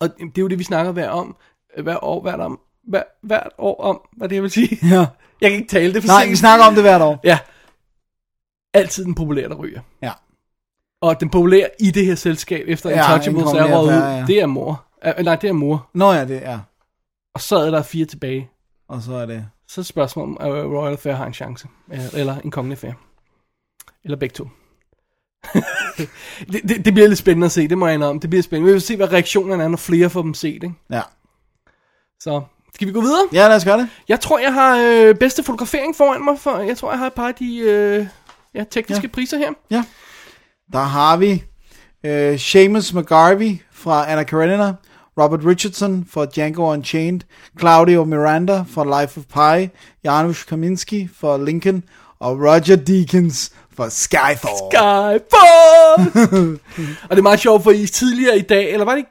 S3: Og det er jo det, vi snakker hver om, hver år, hvert om, hver, hvert år om, hvad det jeg vil sige.
S4: Ja.
S3: Jeg kan ikke tale det for
S4: Nej,
S3: sent.
S4: vi snakker om det hvert år.
S3: Ja. Altid den populære, der ryger.
S4: Ja.
S3: Og den populære i det her selskab, efter
S4: Ja,
S3: ja,
S4: en
S3: Untouchables
S4: kongelig
S3: er røget
S4: affære, ja.
S3: ud, det er mor. Øh, nej, det er mor.
S4: Nå ja, det er.
S3: Og så er der fire tilbage.
S4: Og så er det...
S3: Så er spørgsmålet, om øh, Royal Fair har en chance. Øh, Eller en kongelig fair. Eller begge to. (laughs) det, det, det, bliver lidt spændende at se, det må jeg indrømme. Det bliver spændende. Vi vil se, hvad reaktionerne er, når flere får dem set. Ikke?
S4: Ja.
S3: Så skal vi gå videre?
S4: ja, lad os gøre det.
S3: Jeg tror, jeg har øh, bedste fotografering foran mig. For, jeg tror, jeg har et par af de øh, ja, tekniske ja. priser her.
S4: Ja. Der har vi øh, Seamus McGarvey fra Anna Karenina, Robert Richardson fra Django Unchained, Claudio Miranda fra Life of Pi, Janusz Kaminski fra Lincoln og Roger Deakins fra Skyfall.
S3: (laughs) Skyfall! og det er meget sjovt, for i tidligere i dag, eller var det i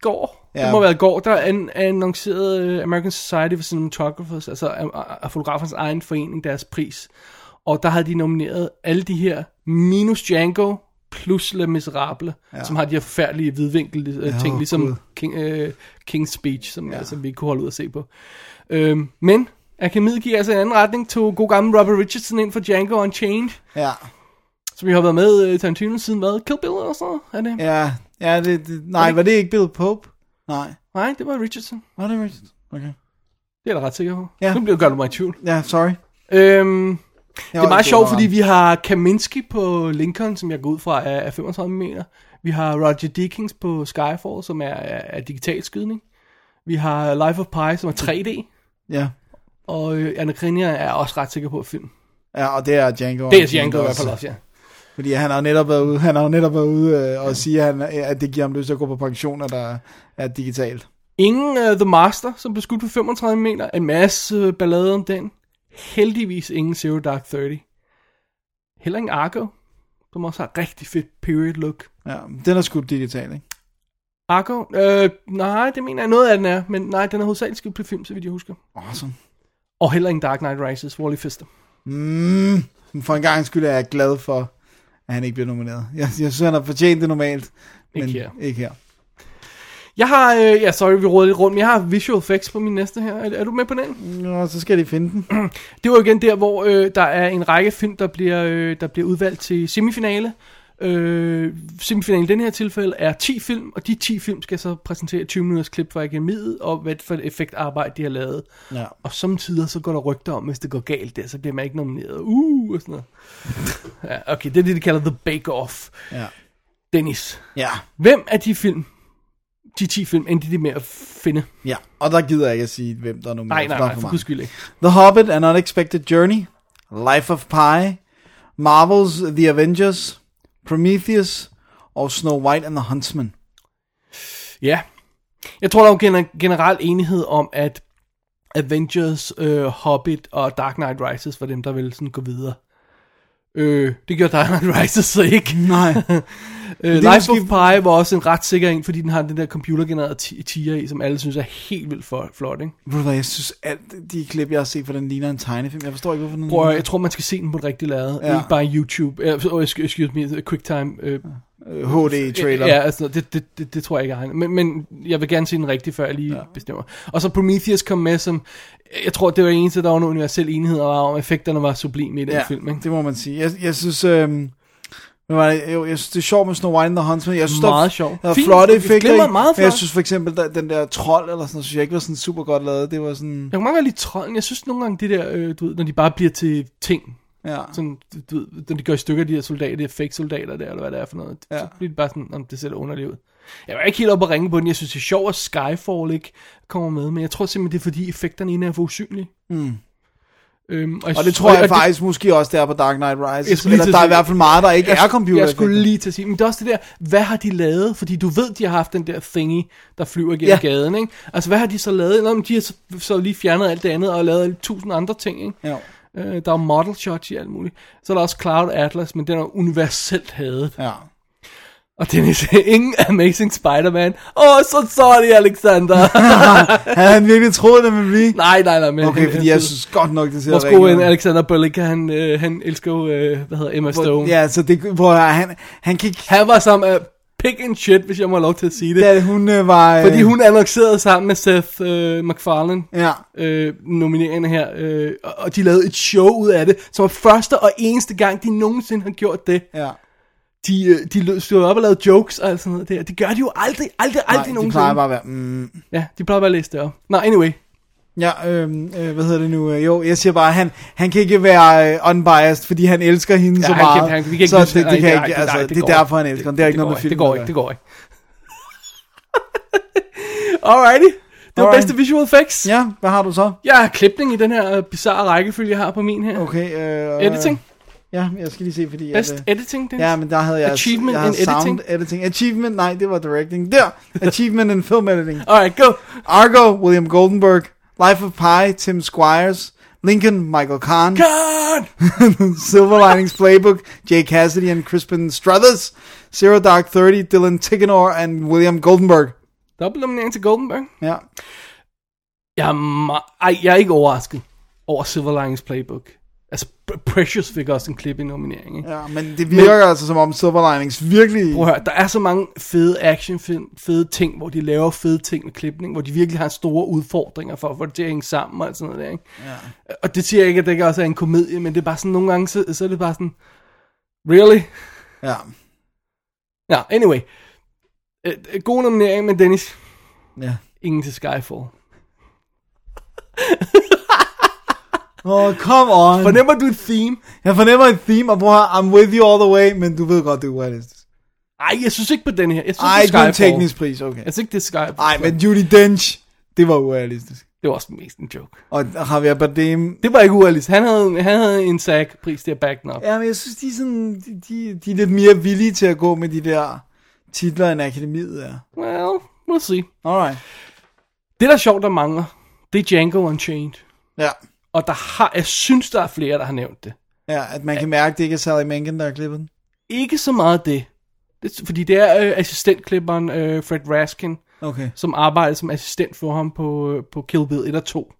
S3: går?
S4: Ja.
S3: Ja. Det må være i går, der an- annoncerede øh, American Society for Cinematographers, altså af- af fotografernes egen forening, deres pris. Og der havde de nomineret alle de her, minus Django, plus Le Miserable, ja. som har de her forfærdelige hvidvinkel øh, ting,
S4: åh, Gud.
S3: ligesom King, øh, King's Speech, som, ja. som vi ikke kunne holde ud at se på. Øhm, men Akademiet gik altså en anden retning, tog god gammel Robert Richardson ind for Django Unchained,
S4: Ja,
S3: som jo har været med øh, i Tarantino siden hvad? Kill Bill eller sådan noget? Er det? Ja.
S4: ja, ja det, det, nej, var det ikke Bill Pope? Nej,
S3: Nej, det var Richardson.
S4: var det Richardson? Okay.
S3: Det er jeg da ret sikker på.
S4: Ja.
S3: Ja. Nu bliver gør du mig i tvivl.
S4: Ja, sorry.
S3: Øhm,
S4: Jeg
S3: det
S4: var
S3: er meget
S4: ikke
S3: sjovt,
S4: god
S3: fordi
S4: nok.
S3: vi har Kaminski på Lincoln, som jeg går ud fra er, er 35 meter. Vi har Roger Deakins på Skyfall, som er, er, er digital skydning. Vi har Life of Pi, som er 3D.
S4: Ja.
S3: Og øh, Anna Krenia er også ret sikker på at film.
S4: Ja, og det er Django.
S3: Det er Django i hvert fald også, ja.
S4: Fordi han har jo netop været ude, han har jo netop været ude øh, og sige, at, han, at det giver ham lyst til at gå på pensioner, der er digitalt.
S3: Ingen uh, The Master, som blev skudt på 35 meter. En masse uh, ballade om den. Heldigvis ingen Zero Dark Thirty. Heller ingen Argo, som også har rigtig fedt period look.
S4: Ja, den er skudt digitalt, ikke?
S3: Argo? Øh, nej, det mener jeg noget af den er, men nej, den er hovedsageligt skudt på film, så vidt jeg husker.
S4: Awesome.
S3: Og heller ingen Dark Knight Rises, Wally Fister.
S4: Mm, men for en gang skyld er jeg glad for, at han ikke bliver nomineret. Jeg, jeg synes, han har fortjent det normalt. Men
S3: Ikke her.
S4: Ikke her.
S3: Jeg har, øh, ja sorry, vi råder lidt rundt, men jeg har visual effects på min næste her. Er, er du med på den?
S4: Nå, så skal de finde den.
S3: Det var jo igen der, hvor øh, der er en række film, der bliver, øh, der bliver udvalgt til semifinale. Øh, semifinalen i den her tilfælde er 10 film, og de 10 film skal så præsentere 20 minutters klip fra akademiet, og hvad for et effektarbejde de har lavet.
S4: Ja.
S3: Og samtidig så går der rygter om, hvis det går galt der, så bliver man ikke nomineret. Uh, og sådan noget. Ja, okay, det er det, de kalder The Bake Off.
S4: Ja.
S3: Dennis,
S4: Ja.
S3: hvem af de film, de 10 film, endte de med at finde?
S4: Ja. Og der gider jeg ikke at sige, hvem der er nomineret.
S3: Nej, nej,
S4: der er
S3: nej, for
S4: mange.
S3: guds skyld ikke.
S4: The Hobbit, An Unexpected Journey, Life of Pi, Marvel's The Avengers, Prometheus og Snow White and the Huntsman.
S3: Ja. Jeg tror, der er jo gener- generelt enighed om, at Avengers, øh, Hobbit og Dark Knight Rises var dem, der ville sådan gå videre. Øh, det gjorde Dark Knight Rises så ikke.
S4: Nej. (laughs)
S3: Øh,
S4: Mm. det er
S3: Life
S4: måske-
S3: of Pi var også en ret sikker en, fordi den har den der computergenererede ti- tiger i, som alle synes er helt vildt for- flot, ikke?
S4: Ved du hvad, jeg synes, at de klip, jeg har set, for den ligner en tegnefilm. Jeg forstår ikke, hvorfor den...
S3: Prøv at, høre, jeg tror, man skal se den på et rigtigt lade.
S4: Mm. Ja.
S3: Ja. Ikke bare YouTube. Øh, oh, excuse- excuse me, QuickTime. Øh,
S4: HD-trailer.
S3: Ja, altså, det, det, det, det tror jeg ikke er han. Men, men jeg vil gerne se den rigtig, før jeg lige ja. bestemmer. Og så Prometheus kom med som... Jeg tror, det var det eneste, der var en universel enighed om, at effekterne var sublime i den ja. film. Ikke?
S4: det må man sige. Jeg, jeg synes... Øhm, hvad var det? Jo, jeg synes, det er sjovt med Snow White and the Huntsman. Jeg synes, der, er-
S3: Meget sjovt.
S4: Der er
S3: Fint.
S4: flotte
S3: Det
S4: effekter.
S3: glimmer
S4: i,
S3: meget
S4: men jeg
S3: flot.
S4: synes for eksempel, der, den der trold eller sådan noget, synes jeg ikke var sådan super godt lavet. Det var sådan...
S3: Jeg kan meget godt lide trolden. Jeg synes nogle gange, det der, øh, du ved, når de bare bliver til ting.
S4: Ja.
S3: Sådan, du ved, når de gør i stykker, de der soldater, de der fake soldater der, eller hvad det er for noget.
S4: Ja.
S3: Ja. Så bliver det bare sådan, om det ser da underligt ud. Jeg var ikke helt oppe at ringe på den. Jeg synes, det er sjovt, at Skyfall ikke kommer med, men jeg tror simpelthen, det er fordi effekterne inde er for usynlige. Mm. Øhm, jeg
S4: Og det
S3: synes-
S4: tror jeg
S3: og det-
S4: faktisk måske også, der på Dark Knight
S3: Jeg
S4: Rises.
S3: skulle lige til
S4: Eller
S3: at
S4: der er i
S3: sige-
S4: hvert fald meget, der ikke
S3: jeg,
S4: er computer.
S3: Jeg skulle lige til at sige, men det er også det der, hvad har de lavet? Fordi du ved, de har haft den der thingy, der flyver gennem
S4: Ja.
S3: ja. gaden, ikke? Altså, hvad har de så lavet? Nå, men de har så, så lige fjernet alt det andet og lavet alle tusind andre ting, ikke?
S4: Ja.
S3: Øh, der er model shots i alt muligt. Så er der også Cloud Atlas, men den er universelt hadet.
S4: Ja.
S3: Og Dennis, (laughs) ingen Amazing Spider-Man. Åh, oh, så sorry, Alexander. (laughs)
S4: Havde han virkelig troet, det ville blive?
S3: nej, nej, nej. Men øh,
S4: Okay, fordi jeg synes godt nok, det ser
S3: Vores
S4: rigtig
S3: gode ven
S4: ud.
S3: Alexander Berlinka, han, øh, han elsker jo, øh, hvad hedder Emma Stone.
S4: Ja, så det, hvor han, han kan ikke...
S3: Han var som uh, pick and shit, hvis jeg må have lov til at sige det.
S4: Da hun øh, var... øh,
S3: Fordi hun annoncerede sammen med Seth øh, MacFarlane
S4: Ja.
S3: øh, nomineringerne her, øh, og- og de lavede et show ud af det, som var første og eneste gang, de nogensinde har gjort det.
S4: Ja.
S3: De, øh, de lød- stod op og lavede jokes og alt sådan noget der. Det gør de jo aldrig, aldrig, aldrig
S4: Nej, de
S3: nogensinde.
S4: plejer bare at være... Mm.
S3: Ja, de plejer bare at læse det op. Nå, anyway.
S4: Ja, øhm, øh, hvad hedder det nu? Øh, Jo, jeg siger bare, han, han kan ikke være øh, unbiased, fordi han elsker hende
S3: Ja,
S4: så
S3: han kan-
S4: meget.
S3: han- vi kan ikke
S4: så
S3: lytte
S4: det,
S3: til-
S4: det,
S3: nej, det-
S4: kan ikke,
S3: nej, det-
S4: altså,
S3: nej,
S4: det,
S3: det
S4: det er
S3: går ikke.
S4: derfor, han elsker ham. Det har ikke noget med
S3: går ikke,
S4: filmen
S3: Det går
S4: at
S3: ikke, det
S4: gøre.
S3: går ikke. (laughs) Alrighty. Det var
S4: Alright.
S3: bedste visual effects.
S4: Ja, hvad har du så?
S3: Jeg har klipning i den her øh, bizarre rækkefølge, jeg har på min her.
S4: Okay, øh,
S3: Editing.
S4: Ja, jeg skal lige se, fordi...
S3: Best
S4: at, øh,
S3: editing, Dennis.
S4: Ja, men der havde jeg...
S3: Achievement
S4: jeg havde
S3: in
S4: sound
S3: editing.
S4: editing. Achievement, nej, det var directing. Der! Achievement in film editing.
S3: Alright, go.
S4: Argo, William Goldenberg. Life of Pi, Tim Squires. Lincoln, Michael Kahn.
S3: God!
S4: Silver Linings Playbook, Jay Cassidy and Crispin Struthers. Zero Dark 30, Dylan Tickenor and William Goldenberg.
S3: Dobbelt nominering til Goldenberg.
S4: Ja.
S3: Jeg er, ma- Ej, jeg er ikke overrasket over Silver Linings Playbook. Altså, P- Precious fik også en klip i nomineringen. Ikke?
S4: ja, men det virker men, altså som om Silver Linings virkelig...
S3: Prøv at høre, der er så mange fede actionfilm, fede ting, hvor de laver fede ting med klipning, hvor de virkelig har store udfordringer for at få det til at hænge sammen og alt sådan noget der, ikke? Ja. Og det siger jeg ikke, at det ikke også er en komedie, men det er bare sådan, nogle gange, så, så er det bare sådan, really?
S4: Ja.
S3: Nå, anyway. Øh, øh, God nominering, men Dennis,
S4: ja.
S3: ingen til Skyfall.
S4: Oh, come on.
S3: Fornemmer du et theme?
S4: jeg fornemmer et theme, og bror, I'm with you all the way, men du ved godt, det er urealistisk.
S3: Ej, jeg synes ikke på den her. Jeg synes,
S4: Ej,
S3: det
S4: det er
S3: er
S4: en
S3: Skyfall. Altså-
S4: teknisk pris, okay.
S3: Jeg synes ikke, det er Skyfall.
S4: Ej, men Judy Dench, det var urealistisk.
S3: Det var også mest en joke.
S4: Og Javier Bardem,
S3: Det var ikke urealistisk. Han havde, han havde en SAG-pris til at back den op. Ja.
S4: Ja, men jeg synes, de er, sådan, de, de, de er lidt mere villige til at gå med de der titler, end akademiet er.
S3: Well, we'll see.
S4: Alright.
S3: Det, der er sjovt, der mangler, det er Django Unchained.
S4: Ja.
S3: Og der har, jeg synes, der er flere, der har nævnt det.
S4: ja, at man kan mærke, at det ikke er Sally Menken, der har klippet den.
S3: Ikke så meget det. det fordi det er øh, assistentklipperen øh, Fred Raskin,
S4: Okay.
S3: som arbejder som assistent for ham på, øh, på Kill Bill 1 og 2.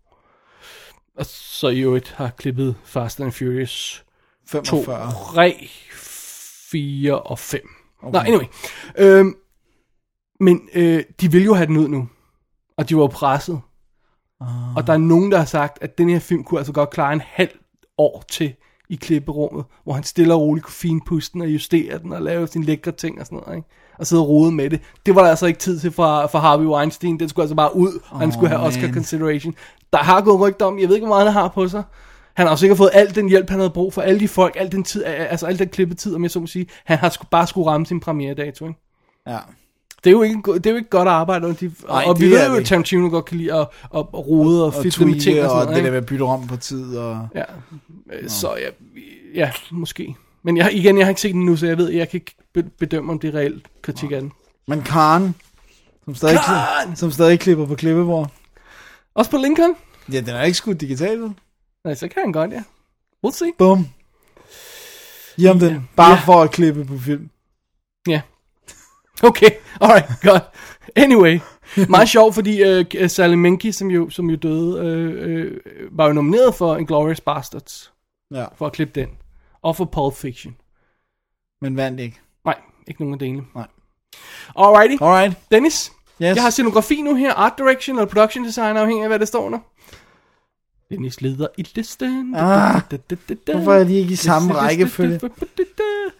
S3: Og så i øvrigt har klippet Fast and Furious 2,
S4: 45.
S3: 3, 4 og 5. Okay. Nej, anyway. Øhm, men øh, de vil jo have den ud nu. Og de var jo presset. Uh. Og der er nogen, der har sagt, at den her film kunne altså godt klare en halv år til i klipperummet, hvor han stille og roligt kunne finpuste den og justere den og lave sine lækre ting og sådan noget, ikke? og sidde og rode med det. Det var der altså ikke tid til for, for Harvey Weinstein. Den skulle altså bare ud, og oh, han skulle have
S4: man.
S3: Oscar consideration. Der har gået rygter om, jeg ved ikke, hvor meget han har på sig. Han har også sikkert fået al den hjælp, han havde brug for. Alle de folk, al den tid, altså al den klippetid, om jeg så må sige. Han har sgu, bare skulle ramme sin premieredato, ikke?
S4: Ja.
S3: Det er jo ikke, en go- det er jo ikke godt arbejde, og, de,
S4: Nej,
S3: Ej, og vi
S4: det er
S3: ved
S4: det
S3: jo, at
S4: ikke.
S3: Tarantino godt kan lide at, at, at rode og, og
S4: Og
S3: fitte med ting
S4: tweet
S3: og
S4: og,
S3: sådan
S4: og det
S3: noget.
S4: der
S3: ikke?
S4: med at bytte om på tid. Og...
S3: Ja. Øh, Så ja, ja, måske. Men jeg, igen, jeg har ikke set den nu, så jeg ved, jeg kan ikke be- bedømme, om det er reelt kritik af den.
S4: Men Karen, Som stadig,
S3: Karen!
S4: som stadig klipper på klippebord.
S3: Også på Lincoln?
S4: Ja, den er ikke skudt digitalt, vel?
S3: Nej, så kan han godt, ja. We'll see.
S4: Bum. Jamen den. Bare
S3: Ja.
S4: for at klippe på film.
S3: Ja. Okay, alright, godt. Anyway,
S4: (laughs)
S3: meget sjovt, fordi øh, Sally Menke, som jo, som jo døde, øh, øh, var jo nomineret for Inglourious Bastards,
S4: Ja,
S3: for at klippe den. Og for Pulp Fiction.
S4: men vandt ikke.
S3: Nej, ikke nogen af delene.
S4: Nej.
S3: Alrighty,
S4: Alright.
S3: Dennis.
S4: Yes.
S3: Jeg har scenografi nu her, art direction eller production design, afhængig af hvad det står under. Dennis leder i listen.
S4: Ah,
S3: Da, da, da, da.
S4: hvorfor er de ikke i samme rækkefølge?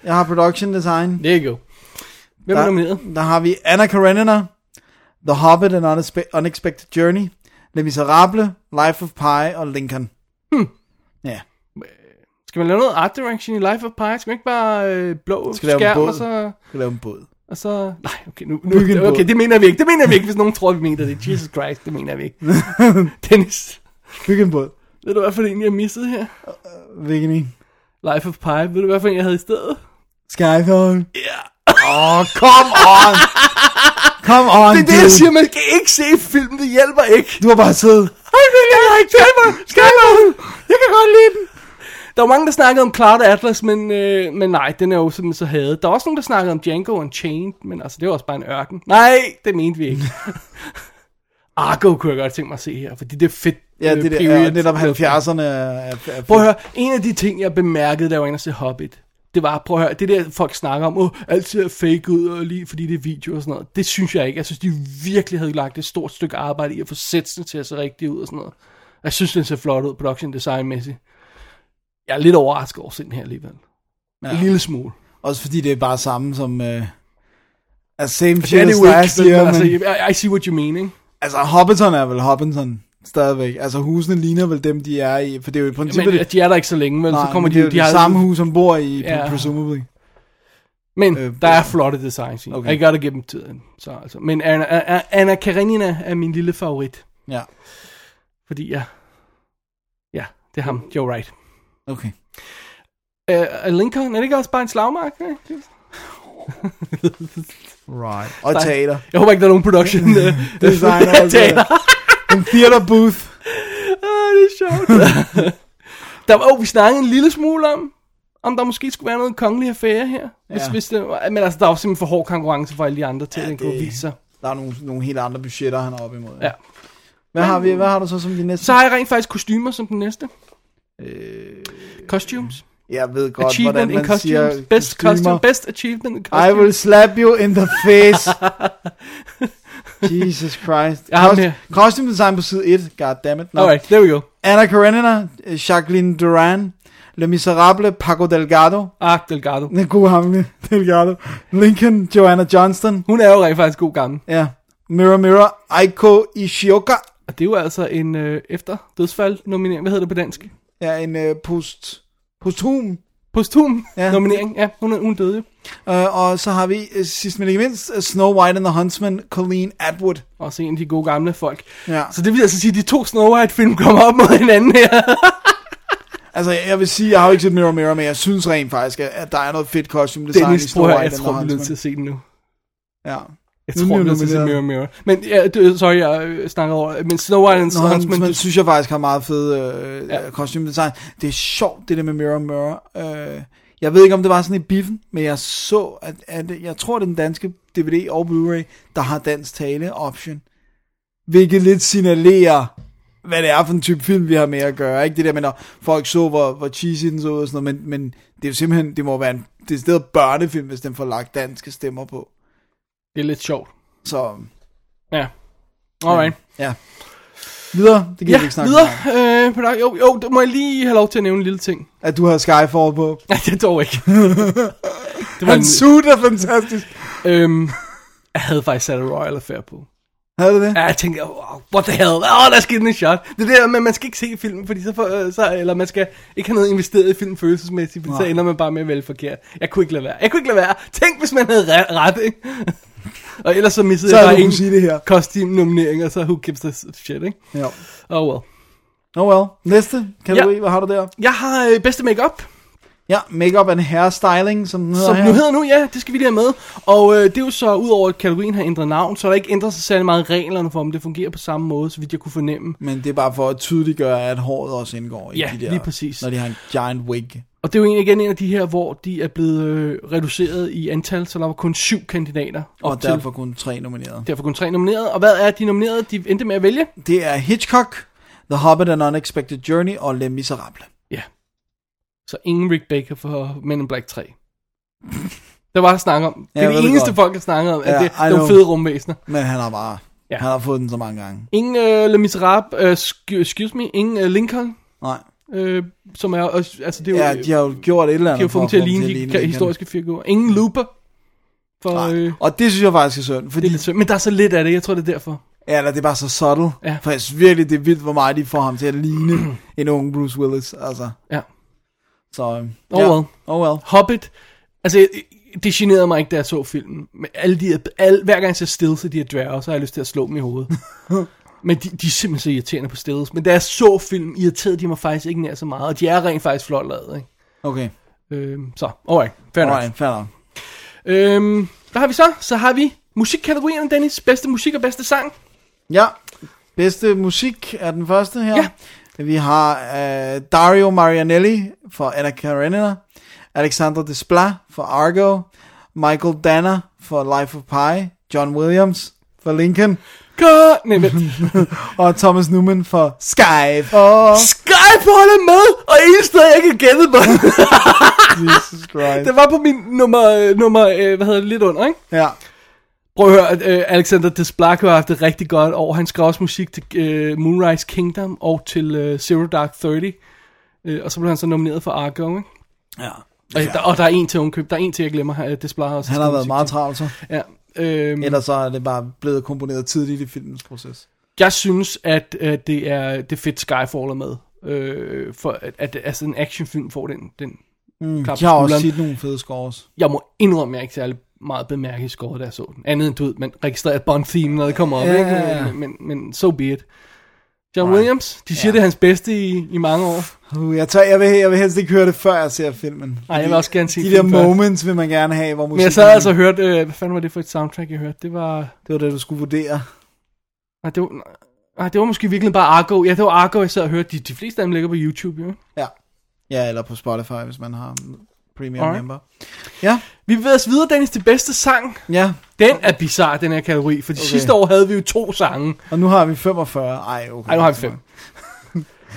S4: Jeg har production design.
S3: There you go. Hvem er nomineret?
S4: Der, der har vi Anna Karenina, The Hobbit and Unespe- Unexpected Journey, Les Miserables, Life of Pi og Lincoln. Hmm. Ja,
S3: Skal man lave noget art direction i Life of Pi? Skal man ikke bare øh, blå
S4: Skal lave en
S3: skærm,
S4: båd?
S3: og så,
S4: vi kan lave en båd. (laughs)
S3: og så... Nej, okay, nu, nu,
S4: Bygge en båd.
S3: okay, det mener vi ikke. Det mener vi ikke, hvis nogen tror, vi mener det. Jesus Christ, det mener vi
S4: (laughs)
S3: ikke. Dennis,
S4: Bygge en båd.
S3: ved du hvad for en, jeg missede her?
S4: Hvilken en?
S3: Life of Pi, ved du hvad for en, jeg havde i stedet?
S4: Skyfall. Ja. Yeah. Åh, oh, come on. Come on,
S3: Det er det,
S4: dude.
S3: jeg siger, man skal ikke se filmen, det hjælper ikke.
S4: Du har bare siddet.
S3: Ej, det kan jeg ikke tage mig. Skal jeg ud? Jeg kan godt lide den. Der var mange, der snakkede om Cloud Atlas, men, øh, men nej, den er jo simpelthen så hadet. Der var også nogen, der snakkede om Django Unchained, men altså, det var også bare en ørken. Nej, det mente vi
S4: (laughs)
S3: ikke. Argo kunne jeg godt tænke mig at se her, fordi det er fedt.
S4: Ja,
S3: øh,
S4: det der
S3: period.
S4: er netop 70'erne. Er, er, er,
S3: Prøv at høre, en af de ting, jeg bemærkede, da jeg var inde og se Hobbit, det var, prøv at høre, det der folk snakker om, åh, alt ser fake ud, og lige fordi det er video og sådan noget, det synes jeg ikke. Jeg synes, de virkelig havde lagt et stort stykke arbejde i at få sætsene til at se rigtigt ud og sådan noget. Jeg synes, den ser flot ud, production designmæssigt. Jeg er lidt overrasket over at se den her alligevel. Ja. En lille smule.
S4: Også fordi det er bare samme som... Øh, altså, same
S3: Det er
S4: shit
S3: det
S4: as
S3: jo
S4: last
S3: ikke, men,
S4: year,
S3: altså,
S4: men...
S3: I, I see what you mean, ikke?
S4: Altså, Hobbiton er vel Hobbiton stadigvæk. Altså, husene ligner vel dem, de er i. For det er jo i princippet...
S3: Men de er der ikke så længe, vel?
S4: nej,
S3: altså, så kommer
S4: men
S3: de,
S4: det er jo
S3: de har
S4: samme hus, som bor i,
S3: Ja.
S4: ja. presumably.
S3: Men
S4: Øh,
S3: der er flotte designs i.
S4: Okay.
S3: Okay. I gotta give dem tiden. Så, altså. Men Anna, A- A- Anna Karenina er min lille favorit.
S4: Ja,
S3: Fordi jeg... Ja, det er ham. Joe Wright.
S4: okay.
S3: Uh, Lincoln, er det ikke også bare en slagmark? ikke?
S4: Right. Og teater.
S3: Jeg håber ikke, der er nogen
S4: (laughs)
S3: production uh, (laughs)
S4: Designer. altså.
S3: teater.
S4: en theater booth.
S3: Ah, det er sjovt. (laughs) der var, oh, vi snakkede en lille smule om, om der måske skulle være noget kongelig affære her. Ja. Hvis,
S4: Ja.
S3: hvis det, var- men altså, der var simpelthen for hård konkurrence for alle de andre til, ja, at den kunne
S4: det-
S3: vise sig.
S4: Der er nogle, nogle helt andre budgetter, han er op imod.
S3: Ja.
S4: Hvad, har vi, hvad har du så som de næste?
S3: Så har jeg rent faktisk kostymer som den næste. Øh, Costumes.
S4: Jeg ved godt, hvordan
S3: Achievement in
S4: man
S3: costumes.
S4: siger
S3: Best
S4: kostumer.
S3: costume. Best achievement in
S4: I
S3: costume.
S4: will slap you in the
S3: (laughs)
S4: face. Jesus Christ.
S3: Jeg har mere.
S4: costume design på side 1. God damn it. No.
S3: Alright, there we go.
S4: Anna Karenina, øh, Jacqueline Duran, Le Miserable, Paco Delgado,
S3: Ah, Delgado.
S4: den gode hamle, Delgado, Lincoln, Joanna Johnston,
S3: Hun er jo rent faktisk god gammel.
S4: ja, Mirror Mirror, Aiko Ishioka,
S3: Og det er jo altså en øh, efter dødsfald nominering. Hvad hedder det på dansk?
S4: ja, en øh, post, posthum,
S3: Posthum ja.
S4: Ja.
S3: nominering. Ja, hun, er- hun døde jo.
S4: øh, og så har vi øh, sidst men ikke mindst øh, Snow White and the Huntsman, Colleen Atwood.
S3: Også en af de gode gamle folk.
S4: Ja.
S3: Så det vil altså sige, at de to Snow White-film kommer op mod hinanden her.
S4: Altså, jeg vil sige, jeg har jo ikke set Mirror Mirror, men jeg synes rent faktisk, at- at der er noget fedt costume design i
S3: Dennis,
S4: Snow
S3: prøv at høre,
S4: White.
S3: jeg
S4: and
S3: tror,
S4: the
S3: vi er nødt
S4: Huntsman.
S3: til at se den nu.
S4: Ja.
S3: Jeg
S4: Nu
S3: tror,
S4: er
S3: vi
S4: den
S3: er
S4: jo
S3: nødt til at se
S4: nomineret.
S3: Mirror Mirror. Men, ja, d- sorry, jeg øh, snakker over. Men Snow White and
S4: Nå,
S3: the Huntsman,
S4: Huntsman
S3: det-
S4: synes jeg faktisk har meget fed øh,
S3: Ja.
S4: ja. costume design. Det er sjovt, det der med Mirror Mirror. Øh, jeg ved ikke, om det var sådan i biffen, men jeg så, at, at jeg tror, det er den danske DVD og Blu-ray, der har dansk tale option. Hvilket lidt signalerer, hvad det er for en type film, vi har med at gøre. Ikke det der med, når folk så, hvor, hvor cheesy den så ud og sådan noget, men, men det er jo simpelthen, det må være en decideret børnefilm, hvis den får lagt danske stemmer på.
S3: det er lidt sjovt.
S4: Så
S3: Ja. Alright.
S4: ja. Videre, det kan
S3: Ja,
S4: vi ikke snakke
S3: videre. Øh,
S4: om.
S3: product- jo, jo, det må jeg lige have lov til at nævne en lille ting.
S4: At du har Skyfall på.
S3: (laughs) Nej, det dog ikke. (laughs) det var en,
S4: Hans suit er fantastisk.
S3: øhm, jeg havde faktisk sat en Royal Affair på.
S4: Havde du det?
S3: Ja, jeg tænkte, wow, what the hell, åh, oh, der skete en shot. Det der med, at man skal ikke se filmen, fordi så, får, øh, så eller man skal ikke have noget investeret i filmen følelsesmæssigt, fordi så
S4: Nej.
S3: ender man bare med at vælge forkert. Jeg kunne ikke lade være. Jeg kunne ikke lade være. Tænk, hvis man havde re- ret, ikke? (laughs) og ellers så missede
S4: Så
S3: jeg
S4: havde
S3: bare
S4: du kunne sige det her.
S3: kostymnominering, og så who gives a shit, ikke?
S4: Ja.
S3: Oh well.
S4: Oh well. Næste kategori, ja. hvad har du der?
S3: Jeg har øh, bedste makeup.
S4: Ja, Makeup and Hair Styling, som den hedder
S3: Som
S4: her.
S3: nu hedder nu, ja, det skal vi lige have med. Og øh, det er jo så, udover at kategorien har ændret navn, så er der ikke ændret sig særlig meget reglerne for, om det fungerer på samme måde, så vidt jeg kunne fornemme.
S4: Men det er bare for at tydeliggøre, at håret også indgår i
S3: Ja,
S4: de der,
S3: lige præcis.
S4: når de har en giant wig.
S3: Og det er jo egentlig igen en af de her, hvor de er blevet øh, reduceret i antal, så der var kun syv kandidater.
S4: Og
S3: op til.
S4: derfor kun tre nomineret.
S3: derfor kun tre nomineret. Og hvad er de nominerede, de endte med at vælge?
S4: Det er Hitchcock, The Hobbit and Unexpected Journey og Les Miserables.
S3: Ja. Så ingen Rick Baker for Men in Black 3. Der var der snak om. Det
S4: Ja,
S3: er
S4: jeg ved
S3: det
S4: det
S3: eneste
S4: godt.
S3: folk har snakket om, at
S4: Ja,
S3: det
S4: I
S3: er nogle
S4: know.
S3: fede rumvæsener.
S4: Men han har bare,
S3: Ja.
S4: ja. han har fået den så mange gange.
S3: Ingen øh, Le Miserable, øh, sku- excuse me, ingen øh, Lincoln,
S4: Nej.
S3: øh, som er, også- altså det er jo,
S4: Ja, de har jo gjort et eller andet.
S3: de har
S4: for
S3: fået dem
S4: at
S3: til at
S4: få dem
S3: ligne de ka-
S4: igen.
S3: historiske figurer. Ingen Looper. For,
S4: Nej.
S3: øh,
S4: Og det synes jeg faktisk er synd,
S3: det
S4: fordi
S3: er lidt synd. Men der er så lidt af det, jeg tror det er derfor.
S4: Ja, eller det er bare så subtle.
S3: Ja.
S4: Ja. For jeg synes virkelig, det er vildt, hvor meget de får ham til at
S3: (clears throat)
S4: ligne en ung Bruce Willis. Altså,
S3: Ja.
S4: så... øhm,
S3: Oh
S4: ja.
S3: well.
S4: Oh well.
S3: Hobbit, altså jeg- det generede mig ikke, da jeg så filmen. Men alle de, her- alle, hver gang jeg ser stills af de her dværge, så har jeg lyst til at slå dem i
S4: (laughs)
S3: hovedet. Men de, de er simpelthen så irriterende på stills. Men da jeg så film, irriterede de mig faktisk ikke nær så meget. Og de er rent faktisk flot lavet, ikke?
S4: Okay.
S3: Øhm, så, alright, fair nok.
S4: Alright, fair nok.
S3: Øhm, hvad har vi så? Så har vi musikkategorierne, Dennis. Bedste musik og bedste sang.
S4: Ja, bedste musik er den første her. Ja. Vi har øh, Dario Marianelli for Anna Karenina, Alexandre Desplat for Argo, Michael Danner for Life of Pi, John Williams for Lincoln,
S3: God, nej, vent.
S4: og Thomas Newman for Sky for
S3: Skyfall er med, og eneste sted, jeg ikke gættede
S4: (laughs)
S3: på.
S4: Jesus
S3: (laughs)
S4: Christ.
S3: det var på min nummer, øh, nummer øh, hvad hedder det, lidt under, ikke?
S4: Ja,
S3: Prøv at høre, at, øh, Alexander Desplat har haft det rigtig godt år. Han skrev også musik til øh, Moonrise Kingdom og til øh, Zero Dark Thirty. Øh, og så blev han så nomineret for Argo, ikke?
S4: ja.
S3: Og, der, og der er en til ungkøb, der er en til, jeg glemmer, øh, Desplat har også.
S4: han har
S3: skrevet
S4: været
S3: musik
S4: meget travlt så.
S3: til. Ja, øhm,
S4: Ellers så er det bare blevet komponeret tidligt i filmens proces.
S3: Jeg synes, at, at det er det er fedt Skyfall er med. Øh, for at, at altså, en actionfilm får den, den mm, klap på
S4: De har også
S3: skulderen.
S4: tit nogle fede scores.
S3: Jeg må indrømme, at jeg ikke særlig meget bemærket scoret, da jeg så den. Andet end, du ved, man registrerer et Bond-theme, når det kommer op.
S4: Ja,
S3: ikke?
S4: ja, ja.
S3: Men, men, men so be it. John Williams, de siger, det er hans bedste i, i mange år.
S4: Uh, jeg, tør, jeg, vil, jeg vil helst ikke høre det, før jeg ser filmen.
S3: Ej, jeg vil også gerne se
S4: De der
S3: filmen først.
S4: moments vil man gerne have, hvor musikken...
S3: Men jeg sad altså og hørte, øh, hvad fanden var det for et soundtrack, jeg hørte? Det var...
S4: Det var det, du skulle vurdere.
S3: Nej, det var, nej, det var måske virkelig bare Argo. Ja, det var Argo, jeg sad og hørte. De, de fleste af dem ligger på YouTube, jo.
S4: Ja. Ja, eller på Spotify, hvis man har premium
S3: Alright.
S4: Alright. member. Ja,
S3: Vi bevæger os videre, Dennis, til bedste sang.
S4: ja.
S3: Den er bizarre, den her kategori, for de okay.
S4: Okay.
S3: sidste år havde vi jo to sange.
S4: Og nu har vi 45. Ej, okay.
S3: Ej, nu har vi fem.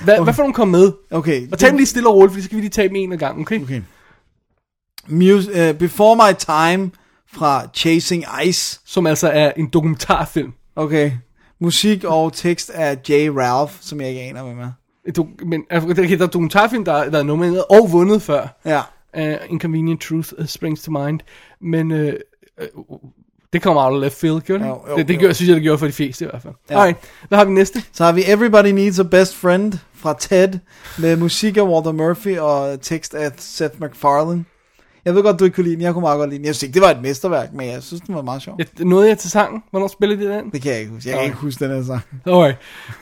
S3: Hva, Hvad for nogle kom med?
S4: Okay.
S3: Og tag dem lige stille og roligt, for så skal vi lige tage dem en ad gangen, okay?
S4: Okay. Mus- uh, Before My Time fra Chasing Ice.
S3: Som altså er en dokumentarfilm.
S4: Okay. Musik og tekst af J. Ralph, som jeg ikke aner, hvem er.
S3: En dok- Men altså, der der er dokumentarfilm, der, er- der er nomineret og vundet før.
S4: Ja.
S3: Uh, Inconvenient Truth uh, springs to mind. Men uh, uh, det kommer out of left field, gjorde det?
S4: Jo, jo,
S3: det, det
S4: jo.
S3: gør, synes jeg, det gjorde for de fleste i hvert fald. Ja. Alright, hvad har vi næste?
S4: Så har vi Everybody Needs a Best Friend fra TED, med musik af Walter Murphy og tekst af Seth MacFarlane. Jeg ved godt, du ikke kunne lide den. Jeg kunne meget godt lide den. Jeg synes ikke, det var et mesterværk, men jeg synes, den var meget sjov.
S3: Jeg, nåede jeg til sangen? Hvornår spillede de den?
S4: Det kan jeg ikke huske. Jeg kan
S3: Nej.
S4: ikke huske den her sang.
S3: Alright.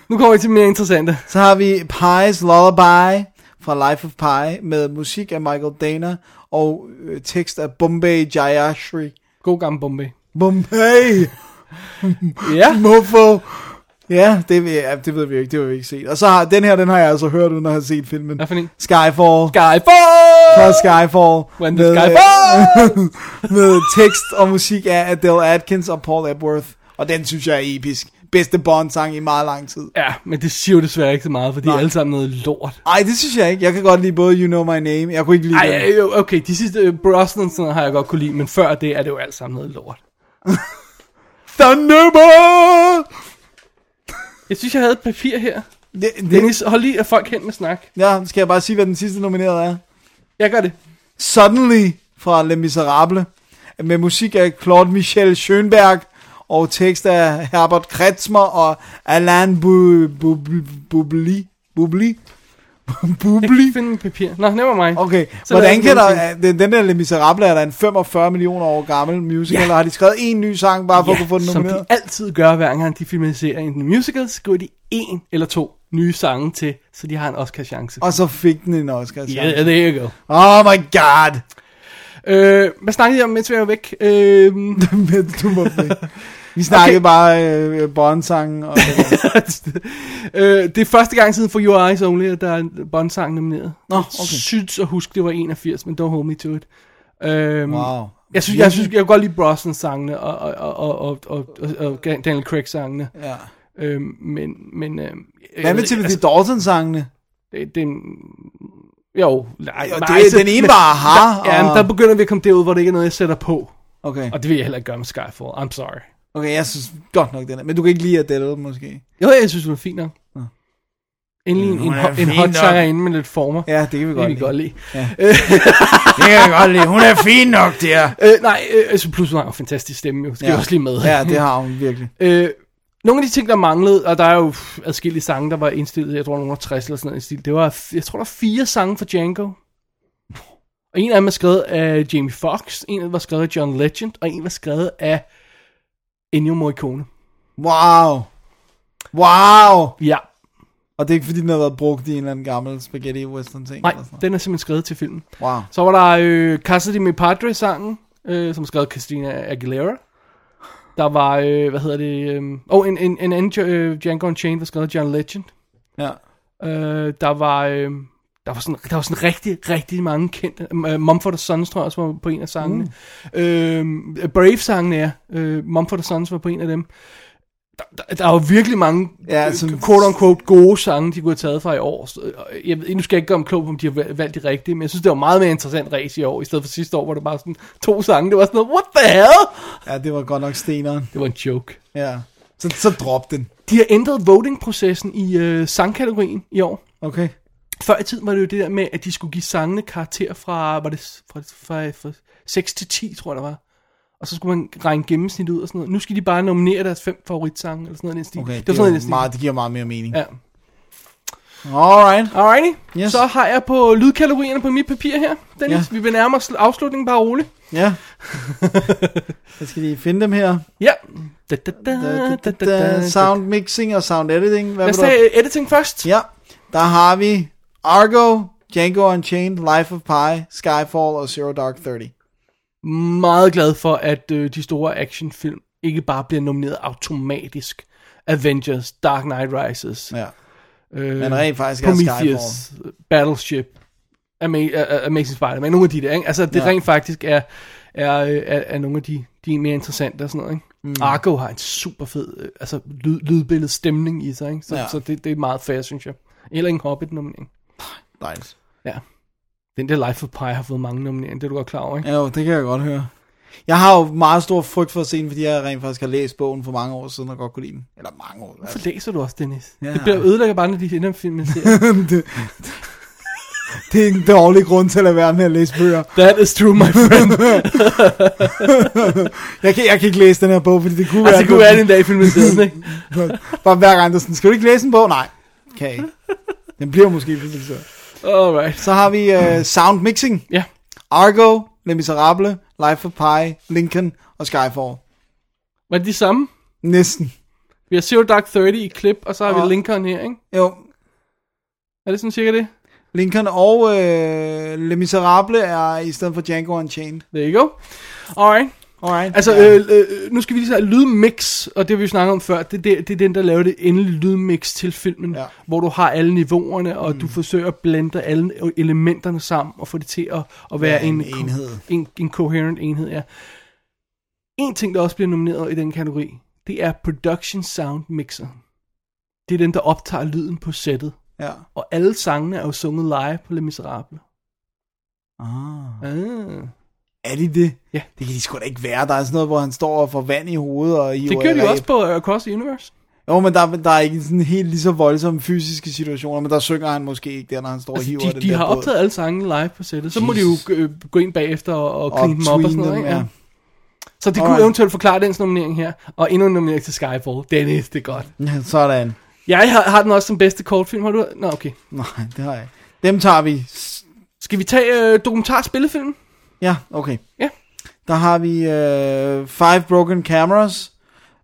S3: Nu kommer vi til mere interessante.
S4: Så har vi Pi's Lullaby fra Life of Pi, med musik af Michael Dana og øh, tekst af Bombay Jayashri.
S3: God gammel Bombay. (laughs)
S4: Bombay!
S3: Ja.
S4: Mofo! Ja, det, ved- ja, det ved vi jo ikke. Det har vi ikke set. Og så har den her, den har jeg altså hørt, uden at have set filmen.
S3: Hvad for en?
S4: Skyfall.
S3: Skyfall!
S4: fra Skyfall.
S3: When the sky falls!
S4: (laughs) med tekst og musik af Adele Atkins og Paul Epworth. Og den synes jeg er episk. Bedste Bond-sang i meget lang tid.
S3: Ja, men det siger jo desværre ikke så meget, for de er
S4: Nej.
S3: alle sammen noget lort.
S4: Ej, det synes jeg ikke. Jeg kan godt lide både You Know My Name. Jeg kunne ikke lide
S3: Ej,
S4: den.
S3: ej, jo, okay, de sidste øh, Brosnan sådan noget har jeg godt kunne lide, men før det er det jo alt sammen noget lort.
S4: Thunderball!
S3: Jeg synes, jeg havde et papir her.
S4: Det, det,
S3: Dennis, hold lige at folk hen med snak.
S4: ja, skal jeg bare sige, hvad den sidste nomineret er?
S3: Jeg gør det.
S4: Suddenly fra Les Miserables. Med musik af Claude Michel Schönberg. Og tekst af (laughs) Herbert Kretzmer og Alain Bu- Bu- Bu- Bubli. Bubli.
S3: Jeg kan ikke
S4: Bubli.
S3: finde mit papir. Nå, det var mig. (laughs)
S4: Okay,
S3: Så
S4: så
S3: lad
S4: hvordan
S3: os
S4: kan
S3: nå
S4: der,
S3: til-
S4: er- den, den der Les Miserables er der en 45 millioner år gammel musical,
S3: Ja.
S4: og har de skrevet en ny sang bare for at
S3: ja,
S4: kunne få den
S3: som de
S4: nomineret?
S3: altid gør, hver gang de filmatiserer en musical, så skriver de en eller to nye sange til, så de har en Oscar-chance.
S4: Og så fik den en Oscar.
S3: Yeah, there you go.
S4: Oh my god. (laughs)
S3: Øh, hvad snakkede jeg om, mens vi var væk? Øh,
S4: Men du må blive. Vi snakkede okay. bare øh,
S3: (laughs)
S4: Bond-sangen. Og,
S3: (laughs) øh, det er første gang siden for Your Eyes Only, at der er en Bond-sang nomineret.
S4: Nå,
S3: Jeg
S4: okay.
S3: synes og husk, det var 81, men don't hold me to it. Øhm,
S4: Wow.
S3: Jeg synes, jeg synes, jeg kan godt lide Brosnan-sangene og, og, og, og, og, og, og Daniel Craig-sangene.
S4: Ja.
S3: Øhm, men, men... Øhm, jeg
S4: Hvad
S3: ved
S4: med
S3: ikke,
S4: Timothy altså, Dalton-sangene?
S3: det, det er en... Jo, nej,
S4: Og
S3: nej,
S4: det, den ene var aha.
S3: Ja, men
S4: og,
S3: der begynder vi at komme derud, hvor det ikke er noget, jeg sætter på.
S4: okay.
S3: Og det vil jeg heller ikke gøre med Skyfall. I'm sorry.
S4: okay, jeg synes godt nok den er. Men du kan ikke lide Adele, måske?
S3: Jo, jeg synes, hun er fin nok. Endelig en, en,
S4: Hun er
S3: ho- en
S4: fin
S3: hot
S4: nok.
S3: sanger inde med lidt former.
S4: Ja, det kan vi
S3: det
S4: godt
S3: kan vi
S4: lide.
S3: godt lide.
S4: Det kan vi godt lide. Hun er fin nok, der.
S3: Øh, nej, øh, altså, plus hun har en fantastisk stemme, jo. Skal ja. også lige med.
S4: Ja, det har hun virkelig.
S3: Øh, nogle af de ting, der manglede, og der er jo pff, adskillige sange, der var indstillet, jeg tror, nogle var 60 eller sådan noget i den stil. Det var, f- jeg tror, der var fire sange fra Django. Og en af dem er skrevet af Jamie Foxx, en af dem var skrevet af John Legend, og en var skrevet af Ennio Morricone.
S4: Wow. Wow.
S3: Ja,
S4: Og det er ikke fordi, den har været brugt i en eller anden gammel spaghetti western ting.
S3: nej,
S4: eller sådan noget.
S3: den er simpelthen skrevet til filmen.
S4: Wow.
S3: Så var der øh, Cassidy med Padre-sangen, øh, som skrev Christina Aguilera. Der var, øh, hvad hedder det, øh, oh, en, en, en anden øh, Django Unchained var skrevet af John Legend.
S4: Ja.
S3: Øh, der var... Øh, der var, sådan, der var sådan rigtig, rigtig mange kendte. Uh, Mumford Sons, tror jeg også, var på en af sangene. Mm. Øh, Brave-sangene, ja. Øh, Mumford Sons var på en af dem. Der, der, der er jo virkelig mange,
S4: Ja,
S3: ja,
S4: sådan-
S3: Øh, quote-unquote, gode sange, de kunne have taget fra i år. Så, øh, Jeg, ved- nu skal jeg ikke gøre mig klog på, om de har valg- valgt de rigtige, men jeg synes, det var meget mere interessant race i år, i stedet for sidste år, hvor det bare sådan to sange. Det var sådan noget, what the hell?
S4: Ja, det var godt nok steneren.
S3: Det var en joke.
S4: Ja. Så, så drop den.
S3: De har ændret voting-processen i øh, sangkategorien i år.
S4: Okay.
S3: Før i tiden var det jo det der med, at de skulle give sangene karakter fra, var det, fra, fra, fra 6 til 10, tror jeg, der var. Og så skulle man regne gennemsnit ud og sådan noget. Nu skal de bare nominere deres fem favoritsange, eller sådan noget i den stil.
S4: Okay, det,
S3: var
S4: det, er
S3: sådan noget i
S4: jo
S3: den stil.
S4: meget, det giver meget mere mening. Ja.
S3: Ja.
S4: Alright.
S3: Alrighty.
S4: Yes.
S3: Så har jeg på lydkategorierne på mit papir her. Dennis, ja. vi nærmer os afslutningen bare roligt.
S4: Ja. (laughs) jeg skal lige finde dem her.
S3: Ja. Da, da, da, da, da, da, da.
S4: Sound mixing og sound editing. Hvad
S3: Lad
S4: vil
S3: os
S4: du have?
S3: tage øh, editing først.
S4: Ja, der har vi Argo, Django Unchained, Life of Pi, Skyfall og Zero Dark Thirty.
S3: meget glad for, at øh, de store actionfilm ikke bare bliver nomineret automatisk. Avengers, Dark Knight Rises,
S4: Ja.
S3: øh,
S4: Men rent faktisk er Skyfall.
S3: Prometheus, Battleship, Ama- A- A- Amazing Spider-Man, nogle af de der, ikke? Altså, det
S4: Ja.
S3: ja. rent faktisk er, er, øh, er, er nogle af de, de mere interessante og sådan noget, ikke? Mm. Argo har en super fed øh, altså, lyd, lydbillede stemning i sig, ikke? Så,
S4: Ja.
S3: ja. så det, det er meget fair, synes jeg. Eller en Hobbit-nominering.
S4: Dejligt.
S3: Ja. Den der Life of Pi har fået mange nomineringer, det er du godt klar over, ikke?
S4: Ja, Jo, det kan jeg godt høre. Jeg har jo meget stor frygt for at se den, fordi jeg rent faktisk har læst bogen for mange år siden og godt kunne lide den. Eller mange år. Altså.
S3: Hvorfor læser du også, Dennis?
S4: Ja.
S3: Ja. Det bliver ødelægger bare, når de ender filmen.
S4: (laughs) Det er en dårlig grund til at være med at læse bøger.
S3: That is true, my friend.
S4: Jeg kan, jeg kan ikke læse den her bog, fordi det kunne
S3: altså, det kunne
S4: at-
S3: være det en dag i filmen siden,
S4: (laughs)
S3: ikke?
S4: Bare hver gang, der er sådan, skal du ikke læse en bog? Nej, kan jeg ikke. Den bliver måske vildt så.
S3: Alright.
S4: Så har vi uh, Sound Mixing.
S3: Ja.
S4: Argo, Les Miserable, Life of Pi, Lincoln og Skyfall.
S3: Var det de samme?
S4: Næsten.
S3: Vi har Zero Dark 30 i klip, og så har
S4: Og-
S3: vi Lincoln her, ikke?
S4: Jo,
S3: Er det sådan cirka det?
S4: Lincoln og uh, Les Miserable er i stedet for Django Unchained.
S3: There you go. Alright.
S4: Alright.
S3: Altså,
S4: ja.
S3: øh, øh, nu skal vi lige så lydmix, og det har vi jo snakket om før, det, det, det er den, der laver det endelige lydmix til filmen,
S4: Ja.
S3: hvor du har alle niveauerne, og mm. du forsøger at blende alle elementerne sammen, og få det til at, at være
S4: en
S3: en,
S4: enhed.
S3: En, en coherent enhed, ja. En ting, der også bliver nomineret i den kategori, det er Production Sound Mixer. Det er den, der optager lyden på sættet.
S4: ja.
S3: Og alle sangene er jo sunget live på Les Miserable.
S4: Ah.
S3: Ah.
S4: Er de det?
S3: Ja.
S4: Det kan de sgu da ikke være. Der er sådan noget, hvor han står og får vand i hovedet. Og
S3: Det gør de jo også på øh, Across the Universe.
S4: Jo, men der, der er ikke sådan helt lige så voldsomme fysiske situationer, men der synger han måske ikke der, når han står og
S3: Altså,
S4: hiver
S3: de,
S4: den
S3: de
S4: der
S3: har
S4: båd.
S3: optaget alle sangene live på sættet. Så må de jo
S4: Jesus.
S3: øh, gå ind bagefter og, og clean dem op og
S4: tweene
S3: sådan noget. Ikke?
S4: ja.
S3: Ja. Så det kunne
S4: Alright.
S3: eventuelt forklare dens nominering her. Og endnu en nominering til Skyfall. Dennis, det er godt.
S4: Ja, sådan.
S3: Jeg har, har den også som bedste kortfilm, har du? Nå, okay.
S4: Nej, det har jeg ikke. Dem tager vi. s-
S3: Skal vi tage øh, dokumentarspillefilm?
S4: Ja, okay.
S3: Ja.
S4: Der har vi øh, Five Broken Cameras.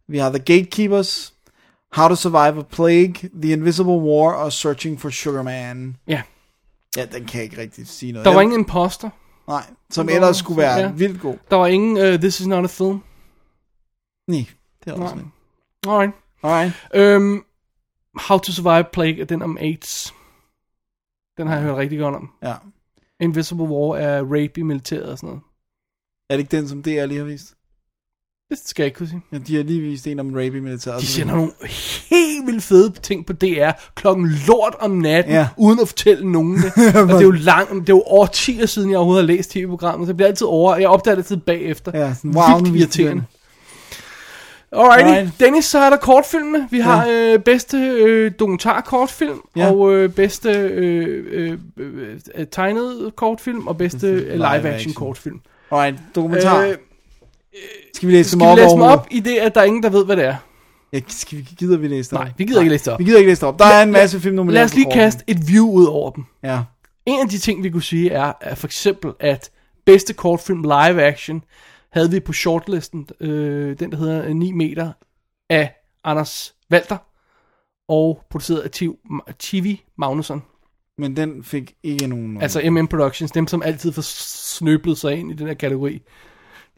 S4: Vi har The Gatekeepers. How to Survive a Plague. The Invisible War og Searching for Sugar Man.
S3: Ja.
S4: Ja, den kan jeg ikke rigtig sige noget.
S3: Der var
S4: om.
S3: ingen imposter.
S4: Nej, som
S3: Nå,
S4: ellers skulle være
S3: ja.
S4: vildt god.
S3: Der var ingen uh, This is not a film.
S4: Nej, det er også
S3: Nej.
S4: ikke.
S3: Alright.
S4: Alright.
S3: Øhm, How to Survive Plague er den om AIDS. Den har jeg hørt rigtig godt om.
S4: Ja.
S3: Invisible War er rape i militæret og sådan noget.
S4: Er det ikke den, som DR lige har vist?
S3: Det skal jeg ikke kunne sige.
S4: Ja, de har lige vist en om rape i militæret.
S3: De sender nogle helt vildt fede ting på DR klokken lort om natten,
S4: Ja.
S3: ja. uden at fortælle nogen
S4: (laughs)
S3: det. og det er jo langt, det er jo årtier siden, jeg overhovedet har læst tv-programmet, så jeg bliver altid over, jeg opdager det altid bagefter.
S4: Ja, sådan, wow, nu
S3: Vildt
S4: vidste vi
S3: irriterende. Alrighty,
S4: Alright.
S3: Alright. Dennis, så er der kortfilmene. Vi har ja. øh, bedste øh, dokumentarkortfilm,
S4: Ja.
S3: ja. og øh, bedste øh, øh, øh, øh, tegnet kortfilm, og bedste øh,
S4: action.
S3: live-action kortfilm.
S4: Alright, dokumentar.
S3: Øh,
S4: Øh, skal vi læse
S3: Skal
S4: dem
S3: vi
S4: op?
S3: læse dem
S4: overhovedet?
S3: op i det, at der er ingen, der ved, hvad det er?
S4: Ja, skal vi, gider vi læse det
S3: Nej,
S4: op?
S3: vi gider ikke læse det op.
S4: Vi gider ikke læse det op. Der er en masse film
S3: Lad os lige kaste et view ud over dem.
S4: Ja.
S3: En af de ting, vi kunne sige, er, er for eksempel, at bedste kortfilm live action havde vi på shortlisten, øh, den der hedder øh, 9 meter, af Anders Walter, og produceret af Tiv- Ma- Tivi Magnusson.
S4: Mm. Men den fik ikke nogen...
S3: Altså MM Productions, dem som altid får snøblet sig ind i den her kategori.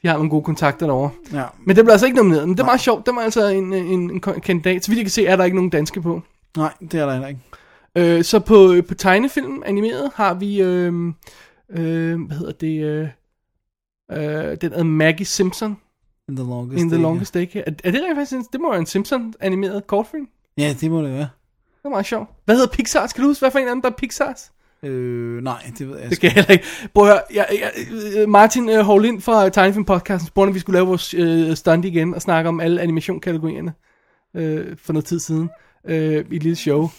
S3: De har nogle gode kontakter derovre.
S4: Ja.
S3: Men det blev altså ikke nomineret, men det er meget sjovt. Det var altså en, en, en kon- kandidat. Så vidt jeg kan se, er der ikke nogen danske på.
S4: Nej, det er der heller ikke.
S3: Øh, så på, øh, på tegnefilm, animeret, har vi, øh, øh, hvad hedder det, øh, øh, den hedder Maggie Simpson
S4: In the longest
S3: in The
S4: Day,
S3: Longest Day. Er, er det rent faktisk, en- det må være en Simpson-animeret kortfilm?
S4: Ja. ja, det må det være.
S3: Det er meget sjovt. Hvad hedder Pixar? Skal du huske, hvad for en anden, der er Pixar's?
S4: Øh, nej, det ved jeg
S3: Det skal jeg heller ikke. Prøv at høre, jeg, jeg, øh, Martin øh, Hovlind fra Tegnefilm Podcasten spurgte, om vi skulle lave vores øh, stunt igen og snakke om alle animationkategorierne øh, for noget tid siden øh, i et lille show,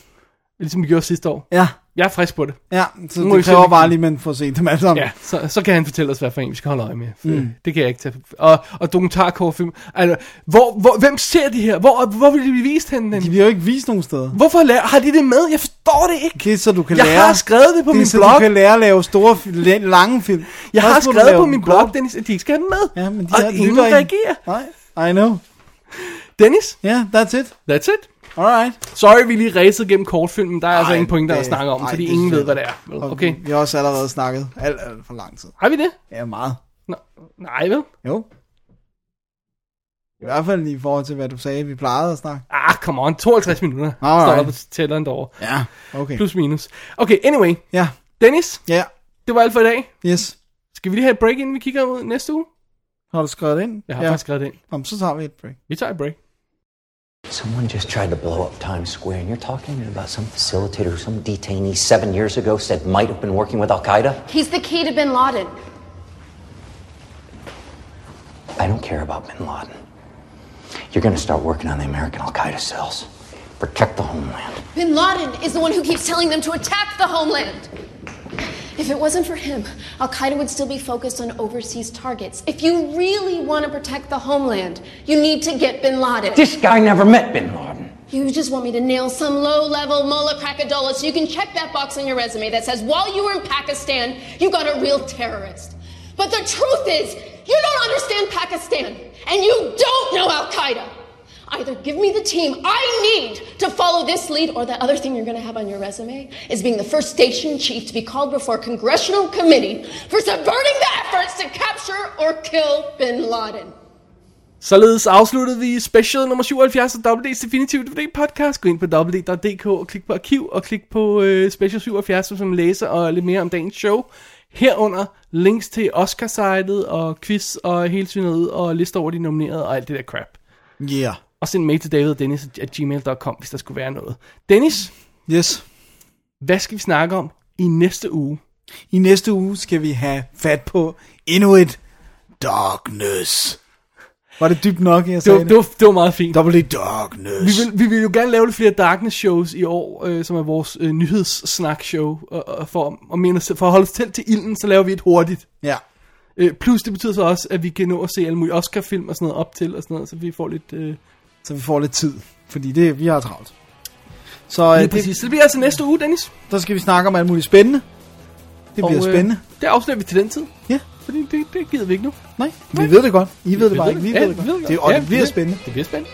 S3: ligesom vi gjorde sidste år.
S4: Ja,
S3: Jeg er frisk på det.
S4: ja. Så
S3: Nu må
S4: det
S3: vi se,
S4: kræver
S3: om vi-
S4: bare lige, at man får set dem alle sammen.
S3: Ja, så, så kan han fortælle os, hvad for en vi skal holde øje med. Mm. Det kan jeg ikke tage. Og, og dokumentarkortfilm. Altså, hvor, hvor, hvem ser de her? Hvor, hvor vil de blive vist henne?
S4: De
S3: Den?
S4: bliver jo ikke vist nogen steder.
S3: Hvorfor la- har de det med? Jeg forstår det ikke.
S4: Okay, så du kan
S3: Jeg
S4: lære...
S3: har skrevet det på
S4: det er
S3: min
S4: så
S3: blog.
S4: du kan lære at lave store, fi- la- lange film.
S3: Jeg har
S4: Først må du
S3: skrevet
S4: lave
S3: på
S4: dem
S3: min
S4: kort.
S3: blog, Dennis, at de ikke skal have den med.
S4: Ja, men de
S3: og
S4: har-
S3: ingen
S4: lytter ikke.
S3: reagerer.
S4: Nej, I know.
S3: Dennis,
S4: Ja, yeah, that's it.
S3: that's it.
S4: Alright.
S3: Sorry, vi lige racede gennem kortfilmen. Der er altså ingen point, der er
S4: det-
S3: at snakke om,
S4: ej,
S3: fordi
S4: det
S3: ingen ved,
S4: synes jeg
S3: hvad det er. Vel,
S4: Og
S3: Okay.
S4: Vi, vi har også allerede snakket alt, alt for lang tid.
S3: Har vi det?
S4: Ja, meget.
S3: Nå, nej, vel?
S4: Jo. I hvert fald i forhold til, hvad du sagde, vi plejede at snakke.
S3: Ah, come on. 52 minutter.
S4: Alright.
S3: Står der på tælleren derovre.
S4: Ja. Okay.
S3: Plus minus. Okay, anyway.
S4: Ja.
S3: Dennis,
S4: Ja.
S3: det var alt for i dag.
S4: Yes.
S3: Skal vi lige have et break, inden vi kigger ud næste uge?
S4: Har du skrevet ind?
S3: Jeg har ja. faktisk skrevet det ind.
S4: Om, så tager vi et break.
S3: Vi tager et break.
S9: Someone just tried to blow up Times Square, and you're talking about some facilitator who some detainee seven years ago said might have been working with Al Qaeda?
S10: He's the key to bin Laden.
S9: I don't care about bin Laden. You're gonna start working on the American Al Qaeda cells. Protect the homeland.
S10: Bin Laden is the one who keeps telling them to attack the homeland. If it wasn't for him, Al Qaeda would still be focused on overseas targets. If you really want to protect the homeland, you need to get bin Laden.
S9: This guy never met bin Laden.
S10: You just want me to nail some low level mullah crackadola so you can check that box on your resume that says, while you were in Pakistan, you got a real terrorist. But the truth is, you don't understand Pakistan, and you don't know Al Qaeda. Either give me the team I need to follow this lead, or the other thing you're going to have on your resume is being the first station chief to be called before a congressional committee for subverting the efforts to capture or kill bin Laden.
S3: Således afsluttede vi special nummer 77 af WD's Definitive DVD podcast. Gå ind på wd.dk og klik på arkiv og klik på øh, special 77, som man læser og lidt mere om dagens show. Herunder links til Oscar-sitet og quiz og hele synet og lister over de nominerede og alt det der crap.
S4: Yeah.
S3: Og send mail til David og Dennis at gmail.com, hvis der skulle være noget. Dennis,
S4: Yes.
S3: hvad skal vi snakke om i næste uge?
S4: I næste uge skal vi have fat på endnu et Darkness. Var det dybt nok, jeg
S3: Det
S4: sagde
S3: var, det var, det var meget fint.
S4: Double Darkness.
S3: Vi vil, vi vil jo gerne lave lidt flere Darkness shows i år, øh, som er vores øh, nyhedssnak show. Og, og for, og mener, for at holde os tæt til ilden, så laver vi et hurtigt.
S4: Ja.
S3: Øh, plus det betyder så også, at vi kan nå at se alle mulige Oscar-film og sådan noget op til, og sådan noget, så vi får lidt... Øh...
S4: Så vi får lidt tid. Fordi det, vi har travlt. Så,
S3: Lige præcis. Så det bliver altså næste uge, Dennis.
S4: Der skal vi snakke om alt muligt spændende. Det bliver
S3: Og, øh,
S4: spændende.
S3: Det afslører vi til den tid.
S4: Ja.
S3: Fordi det, det gider vi ikke nu.
S4: Nej, vi ved det godt. I ved det
S3: ved
S4: bare
S3: det.
S4: ikke. Vi
S3: Ja,
S4: ved det
S3: vi ved
S4: godt.
S3: det
S4: Det,
S3: godt.
S4: og
S3: Ja,
S4: det bliver
S3: vi ved-
S4: spændende.
S3: Det bliver spændende.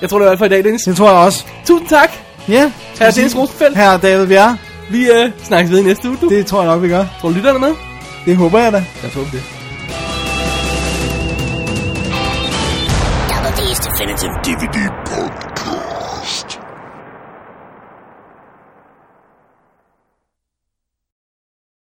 S3: (laughs) Jeg tror, det var alt for i dag, Dennis.
S4: Det tror jeg også.
S3: Tusind tak,
S4: Ja.
S3: herre Dennis Rosenfeldt.
S4: Her David Bjerre.
S3: Vi øh, snakkes ved i næste uge, du. Det.
S4: Det tror jeg nok, vi gør.
S3: Tror du, lytterne er med?
S4: Det håber jeg da.
S3: Jeg tror det.
S2: Double D's Definitive
S6: DVD podcast.